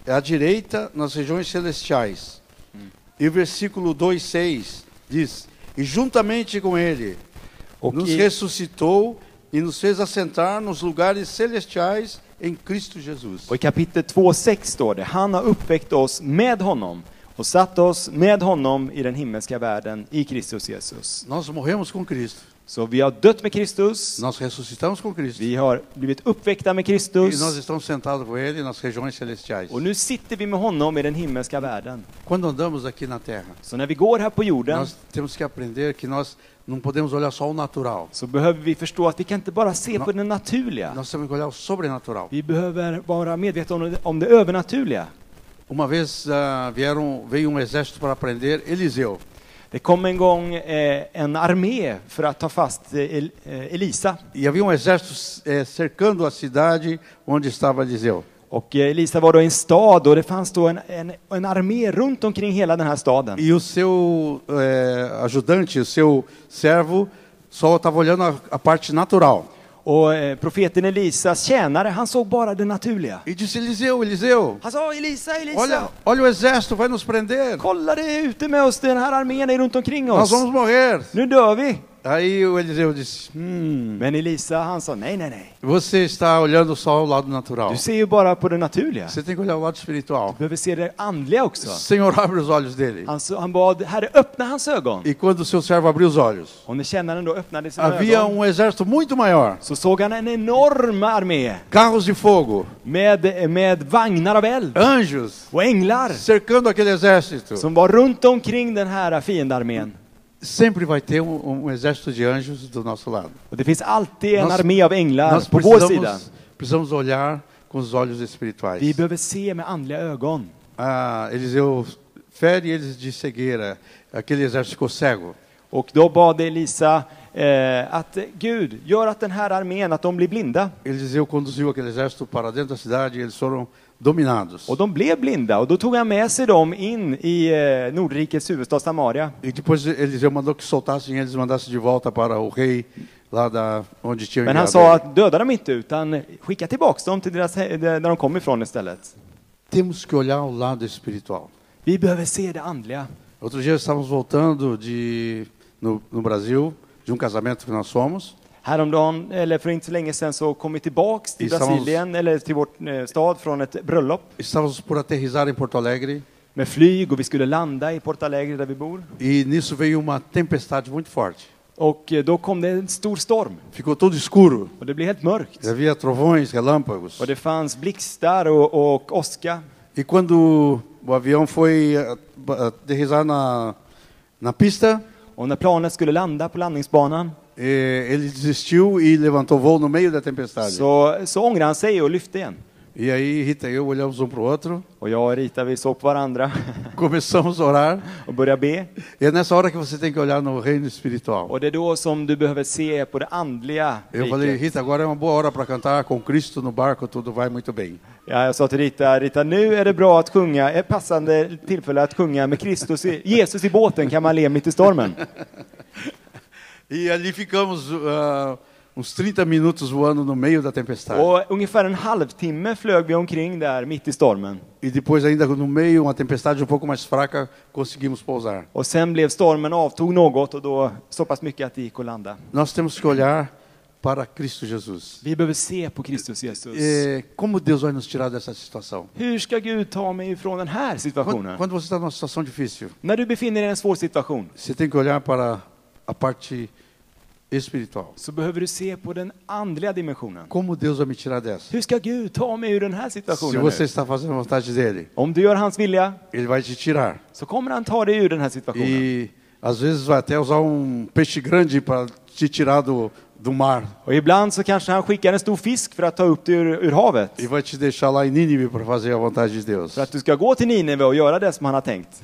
S1: à direita, nas regiões celestiais. E o versículo 2, 6 diz: E juntamente com ele
S2: Och
S1: nos
S2: i,
S1: ressuscitou e nos fez assentar nos lugares celestiais em Cristo Jesus.
S2: och i kapitel 2, 6 står det, han har uppväckt oss med honom och satt oss med honom i den himmelska världen i Kristus Jesus.
S1: Nós morremos com Cristo.
S2: Så vi har dött med Kristus,
S1: Nós ressuscitamos com Cristo.
S2: vi har blivit uppväckta med
S1: E nós
S2: Kristus
S1: estamos sentados com Ele nas regiões celestiais.
S2: och nu sitter vi med honom i den himmelska världen.
S1: Quando andamos aqui na Terra,
S2: Så när vi går här på jorden
S1: nós temos que aprender que nós não podemos olhar só o natural.
S2: så behöver vi förstå att vi kan inte bara se på det naturliga.
S1: Nós temos que olhar o sobrenatural.
S2: Vi behöver vara medvetna om det, om det övernaturliga.
S1: Uma vez ah, vieram, veio um exército para prender Eliseu.
S2: Det kom en gång eh, en armé för att ta fast eh, El, eh, Elisa.
S1: E havia um exército eh, cercando a cidade onde estava Eliseu.
S2: Och eh, Elisa var då i en stad och det fanns då en, en, en armé runt omkring hela den här staden.
S1: E o seu eh, ajudante, o seu servo, só estava olhando a, a parte natural.
S2: Och eh, profeten Elisas tjänare, han såg bara det naturliga.
S1: E disse: Eliseu, Eliseu,
S2: Han sa Elisa, Elisa!
S1: olha, olha o exército, vai nos prender.
S2: Kolla det är ute med oss, den här armén är runt omkring
S1: Nós
S2: oss.
S1: vamos morrer.
S2: Nu dör vi!
S1: Aí o Eliseu disse: Hum,
S2: Men Elisa, han sa nej, nej, nej.
S1: você está olhando só o lado natural.
S2: Du ser ju bara på det naturliga.
S1: Você tem que olhar o lado espiritual.
S2: Du behöver se det andliga också.
S1: Senhor, abre os olhos dele.
S2: Han, sa- han bad, Herre öppna hans ögon.
S1: E quando o seu servo abriu os olhos,
S2: Och när tjänaren då öppnade sina
S1: havia
S2: ögon
S1: um exército muito maior.
S2: så såg han en enorm armé
S1: Carros de fogo,
S2: med, med vagnar av eld
S1: anjos,
S2: och änglar
S1: cercando aquele exército.
S2: som var runt omkring den här fiendearmén.
S1: Sempre vai ter um, um exército de anjos do nosso lado.
S2: Och det finns alltid en
S1: Nós-
S2: armé av änglar
S1: Nós
S2: på vår sida.
S1: precisamos, precisamos olhar com os olhos espirituais.
S2: Vi behöver se med andliga ögon.
S1: Ah, Eliseu fere eles de cegueira. Aquele exército ficou cego.
S2: Och då bad Elisa eh, att Gud, gör att den här armén, att de blir blinda.
S1: Eliseu conduziu aquele exército para dentro da cidade e eles foram dominados.
S2: Och de blev blinda och då tog han med sig dem in i eh, Nordrikets huvudstad Samaria.
S1: E depois Eliseu mandou que soltassem eles e mandassem de volta para o rei lá da onde tinha
S2: Men han
S1: enviado
S2: sa
S1: ele.
S2: att döda dem inte utan skicka tillbaks dem till deras, he- där de kom ifrån istället.
S1: Temos que olhar o lado espiritual.
S2: Vi behöver se det andliga.
S1: Outro dia estávamos voltando de no, no Brasil de um casamento que nós fomos.
S2: Häromdagen, eller för inte så länge sedan, så kom vi tillbaks till
S1: I samma-
S2: Brasilien, eller till vår eh, stad från ett bröllop
S1: Estávamos por aterrizar em Porto Alegre
S2: med flyg och vi skulle landa i Porto Alegre där vi bor.
S1: e nisso veio uma tempestade muito forte.
S2: Och eh, då kom det en stor storm
S1: Ficou tudo escuro.
S2: och det blev helt mörkt.
S1: Havia trovões, relâmpagos.
S2: Och det fanns blixtar och, och åska.
S1: E quando o avião foi ah, ba- aterrissar na, na pista,
S2: Och när planet skulle landa på landningsbanan
S1: eh, ele desistiu e levantou voo no meio da tempestade.
S2: så, så ångrade han sig och lyfte igen.
S1: E aí Rita e eu olhamos um para o outro, <laughs>
S2: Och jag och Rita, vi såg på varandra <laughs>
S1: começamos a orar.
S2: och började be.
S1: E é nessa hora que você tem que olhar no reino espiritual.
S2: Och det är då som du behöver se på det andliga
S1: Eu falei,
S2: riket.
S1: Rita, agora é uma boa hora para cantar com Cristo no barco, tudo vai muito bem.
S2: Ja, jag sa till Rita, Rita, nu är det bra att sjunga, ett passande tillfälle att sjunga med Kristus, i, Jesus i båten kan man le mitt i stormen.
S1: E ali ficamos ah, uns 30 minutos voando no meio da tempestade.
S2: Och ungefär en halvtimme flög vi omkring där mitt i stormen.
S1: E depois, ainda no meio, uma tempestade um pouco mais fraca, conseguimos pousar.
S2: Och sen blev stormen avtog något och då så pass mycket att det gick att landa.
S1: Nós temos que olhar para Cristo Jesus.
S2: Vi behöver se på Kristus Jesus.
S1: É, como Deus vai nos tirar dessa situação?
S2: Hur ska Gud ta mig ifrån den här
S1: Quando,
S2: situationen?
S1: quando você está numa situação difícil,
S2: När du befinner dig i en svår situation
S1: você tem que olhar para a parte espiritual.
S2: så behöver du se på den andliga dimensionen.
S1: Como Deus vai me tirar dessa?
S2: Hur ska Gud ta mig ur den här
S1: Se
S2: situationen
S1: você
S2: nu?
S1: está fazendo a vontade dele,
S2: Om du gör hans vilja
S1: ele vai te tirar.
S2: så kommer han ta dig ur den här situationen.
S1: E às vezes vai até usar um peixe grande para te tirar do, do mar
S2: Och ibland så kanske han skickar en stor fisk för att ta upp dig ur, ur havet.
S1: e vai te deixar lá em Nínive para fazer a vontade de Deus.
S2: För att du ska gå till Nineve och göra det som han har tänkt.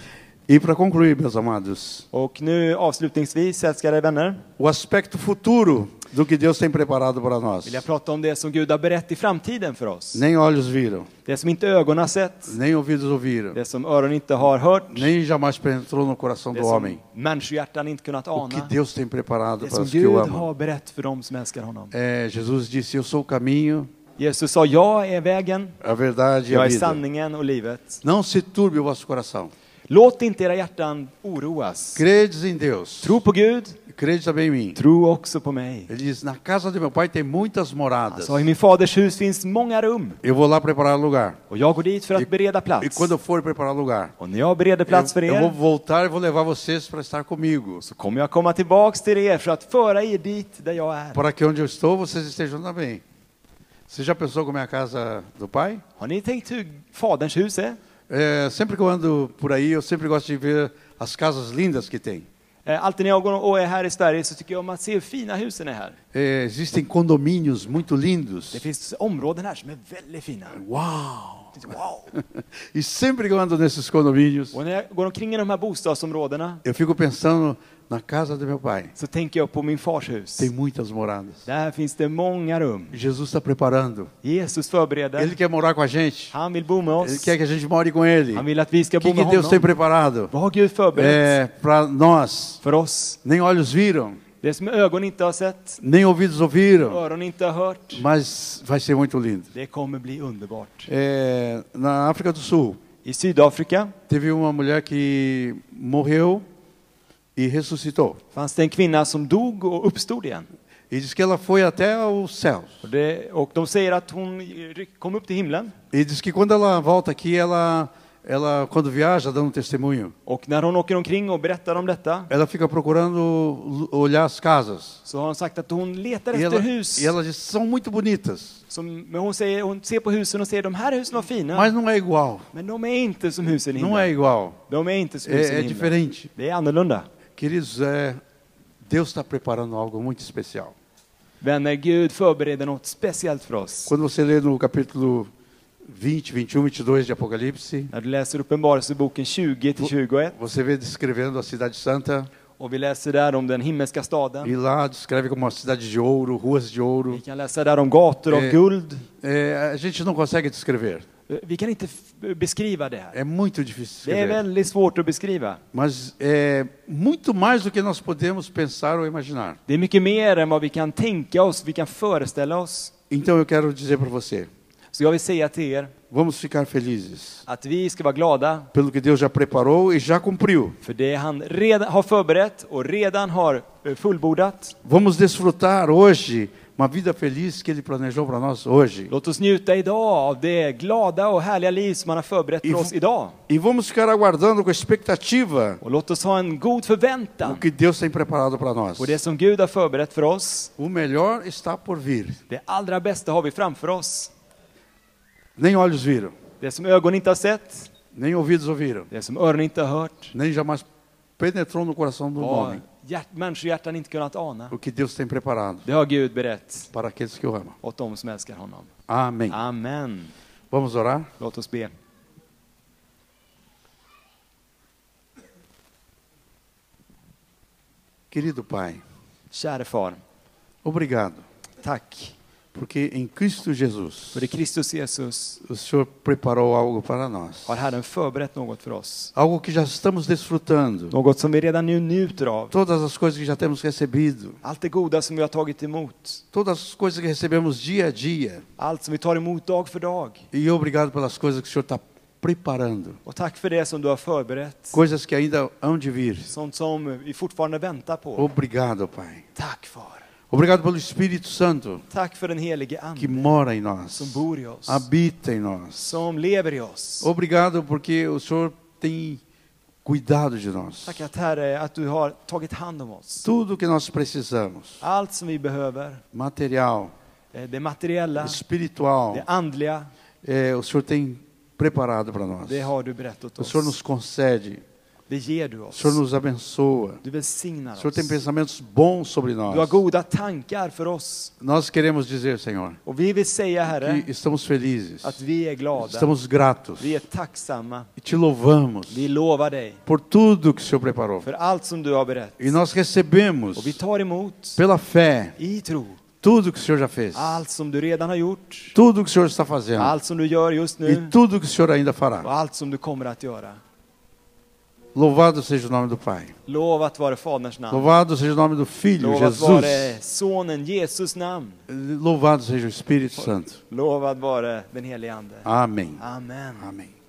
S1: E para concluir, meus amados,
S2: Och nu avslutningsvis, älskade vänner,
S1: o aspecto futuro do que Deus tem preparado para nós.
S2: vill jag prata om det som Gud har berett i framtiden för oss.
S1: Nem olhos viram,
S2: Det som inte ögon har sett,
S1: nem ouvidos ouviram,
S2: det som öron inte har hört,
S1: nem jamais penetrou no coração
S2: det
S1: do
S2: som
S1: homem.
S2: människohjärtan inte kunnat
S1: O que
S2: ana,
S1: Deus tem preparado
S2: det
S1: para
S2: som
S1: os que o
S2: Gud
S1: amam.
S2: har berett för dem som älskar honom.
S1: É, Jesus disse: Eu sou o caminho,
S2: Jesus sa, jag är vägen,
S1: a verdade e a
S2: jag är
S1: vida.
S2: sanningen och livet.
S1: Não se turbe o vosso coração.
S2: Låt inte era hjärtan oroas.
S1: Credes em Deus,
S2: Tro på Gud,
S1: crede também em mim.
S2: Tro också på mig.
S1: Ele diz: Na casa de meu pai tem muitas
S2: Han
S1: moradas.
S2: sa, i min faders hus finns många rum
S1: Eu vou lá preparar lugar.
S2: och jag går dit för att bereda
S1: E
S2: plats.
S1: quando eu for preparar lugar,
S2: Och när jag bereder plats för
S1: eu, eu vou
S2: er
S1: voltar e vou levar vocês para estar comigo.
S2: så kommer jag komma tillbaks till er för att föra er dit där jag är.
S1: Para que onde eu estou, vocês estejam também. Você já pensou como é a casa do pai?
S2: Har ni tänkt hur faderns hus är?
S1: É, sempre que eu ando por aí, eu sempre gosto de ver as casas lindas que tem.
S2: Eh, Alltid när jag går och är här i Sverige så tycker jag om att se hur fina husen är här.
S1: É, existem condomínios muito lindos.
S2: Det finns områden här som är väldigt fina.
S1: Uau! <laughs>
S2: Wow!
S1: E sempre que eu ando nesses condomínios,
S2: Och när jag går omkring i de här bostadsområdena
S1: eu fico pensando na casa do meu pai.
S2: så tänker jag på min fars hus.
S1: Tem muitas moradas.
S2: Där finns det många rum.
S1: Jesus está preparando.
S2: Jesus
S1: Ele
S2: förbereder.
S1: quer morar com a gente.
S2: Han vill bo med
S1: Ele
S2: oss.
S1: quer que a gente more com ele.
S2: Han
S1: O
S2: vill att vi ska bo
S1: que,
S2: med
S1: que Deus
S2: honom.
S1: tem preparado
S2: Vad har Gud förberett
S1: é, para nós?
S2: för oss?
S1: Nem olhos viram,
S2: Det som ögon inte har sett,
S1: nem ouvidos ouviram,
S2: öron inte har hört.
S1: mas vai ser muito lindo.
S2: Det kommer bli underbart.
S1: É, na África do Sul,
S2: I Sydafrika
S1: teve uma mulher que morreu e ressuscitou.
S2: fanns det en kvinna som dog och uppstod igen.
S1: E diz que ela foi até os céus.
S2: Och, det, och de säger att hon ryck- kom upp till himlen.
S1: E diz que quando ela volta aqui, ela, ela quando viaja, dando um testemunho,
S2: Och när hon åker omkring och berättar om detta
S1: ela fica procurando olhar as casas.
S2: så har hon sagt att hon letar
S1: E
S2: efter
S1: ela,
S2: hus.
S1: e ela diz, são muito bonitas,
S2: Som, men hon, säger, hon ser på husen och säger de här husen var fina.
S1: mas não é igual.
S2: Men de är inte som husen i
S1: Não é
S2: himlen.
S1: igual.
S2: De är inte som
S1: É, é
S2: husen i himlen.
S1: diferente.
S2: Det är annorlunda.
S1: Queridos, é, Deus está preparando algo muito especial.
S2: Vänner, Gud förbereder något speciellt för oss.
S1: Quando você lê no capítulo 20, 21, 22 de Apocalipse,
S2: När du läser Uppenbarelseboken 20 till 21
S1: você vê descrevendo a cidade santa
S2: och vi läser där om den himmelska staden.
S1: e lá descreve como uma cidade de ouro, ruas de
S2: Vi
S1: ouro.
S2: kan läsa där om gator av
S1: Eh.
S2: guld.
S1: É, a gente não consegue descrever.
S2: Eh, Vi kan inte f- beskriva det här.
S1: É muito difícil
S2: Det är
S1: descrever.
S2: väldigt svårt att beskriva.
S1: Mas é muito mais do que nós podemos pensar ou imaginar.
S2: Det är mycket mer än vad vi kan tänka oss, vi kan föreställa oss.
S1: Então eu quero dizer para você,
S2: Så jag vill säga till er
S1: vamos ficar felizes
S2: att vi ska vara glada
S1: pelo que Deus já preparou e já cumpriu.
S2: för det han redan har förberett och redan har eh, fullbordat.
S1: Vamos desfrutar hoje uma vida feliz que Ele planejou para nós hoje.
S2: Låt oss njuta idag av det glada och härliga liv som han har förberett för
S1: If-
S2: oss idag.
S1: E vamos ficar aguardando com expectativa
S2: Och låt oss ha en god
S1: o
S2: förväntan
S1: que Deus tem preparado para nós.
S2: på det som Gud har förberett för oss.
S1: O melhor está por vir.
S2: Det allra bästa har vi framför oss.
S1: Nem olhos viram,
S2: Det som ögon inte har sett,
S1: nem ouvidos ouviram,
S2: det som öron inte har hört,
S1: nem jamais penetrou no coração do
S2: vad
S1: homem
S2: hjärt, människohjärtan inte kunnat ana.
S1: o que Deus tem preparado
S2: Det har Gud berett
S1: para aqueles que o amam.
S2: åt dem som älskar honom.
S1: Amém.
S2: Amen.
S1: Vamos orar?
S2: Låt oss be.
S1: Querido Pai,
S2: Käre far,
S1: obrigado,
S2: tack
S1: porque em Cristo Jesus
S2: för det Kristus Jesus
S1: o Senhor preparou algo para nós.
S2: har Herren förberett något för oss.
S1: Algo que já estamos desfrutando.
S2: Något som vi redan nu njuter av.
S1: Todas as coisas que já temos recebido,
S2: Allt det goda som vi har tagit emot.
S1: todas as coisas que recebemos dia a dia.
S2: Allt som vi tar emot dag för dag.
S1: E obrigado pelas coisas que o Senhor está preparando.
S2: Och tack för det som du har förberett.
S1: Coisas que ainda hão de vir.
S2: Sånt som vi fortfarande väntar på.
S1: Obrigado, Pai.
S2: Tack far.
S1: Obrigado pelo Espírito Santo
S2: Tack för den helige
S1: que
S2: Ande
S1: mora em nós,
S2: som bor i oss.
S1: habita em nós.
S2: Som lever i oss.
S1: Obrigado porque o Senhor tem cuidado de nós.
S2: Tack att Herre, att du har tagit hand om oss.
S1: Tudo que nós precisamos,
S2: Allt som vi behöver,
S1: material,
S2: eh, det materiella,
S1: espiritual,
S2: det andliga,
S1: eh, o Senhor tem preparado para nós.
S2: det har du berättat
S1: O Senhor
S2: oss.
S1: nos concede,
S2: Det ger du
S1: o
S2: oss.
S1: Senhor nos abençoa.
S2: Du
S1: O
S2: välsignar
S1: Senhor
S2: oss.
S1: tem pensamentos bons sobre
S2: Du har
S1: nós.
S2: goda tankar för oss.
S1: Nós queremos dizer, Senhor,
S2: Och vi vill säga Herre,
S1: que estamos felizes,
S2: att vi är glada.
S1: estamos gratos
S2: Vi är tacksamma.
S1: e te louvamos
S2: Vi lovar dig
S1: por tudo que o Senhor preparou.
S2: för allt som du har berett.
S1: E nós recebemos
S2: Och vi tar emot
S1: pela fé
S2: i tro
S1: tudo que o Senhor já fez,
S2: allt som du redan har gjort,
S1: tudo que o Senhor está fazendo
S2: allt som du gör just
S1: e
S2: nu
S1: tudo que o Senhor ainda fará.
S2: och allt som du kommer att göra.
S1: Louvado seja o nome do Pai.
S2: Lovat vare Faderns namn.
S1: Louvado seja o nome do Filho,
S2: Lovat
S1: Jesus.
S2: vare Sonen Jesus namn.
S1: Louvado seja o Espírito Santo.
S2: Lovad vare den helige Ande.
S1: Amém.
S2: Amen.
S1: Amém.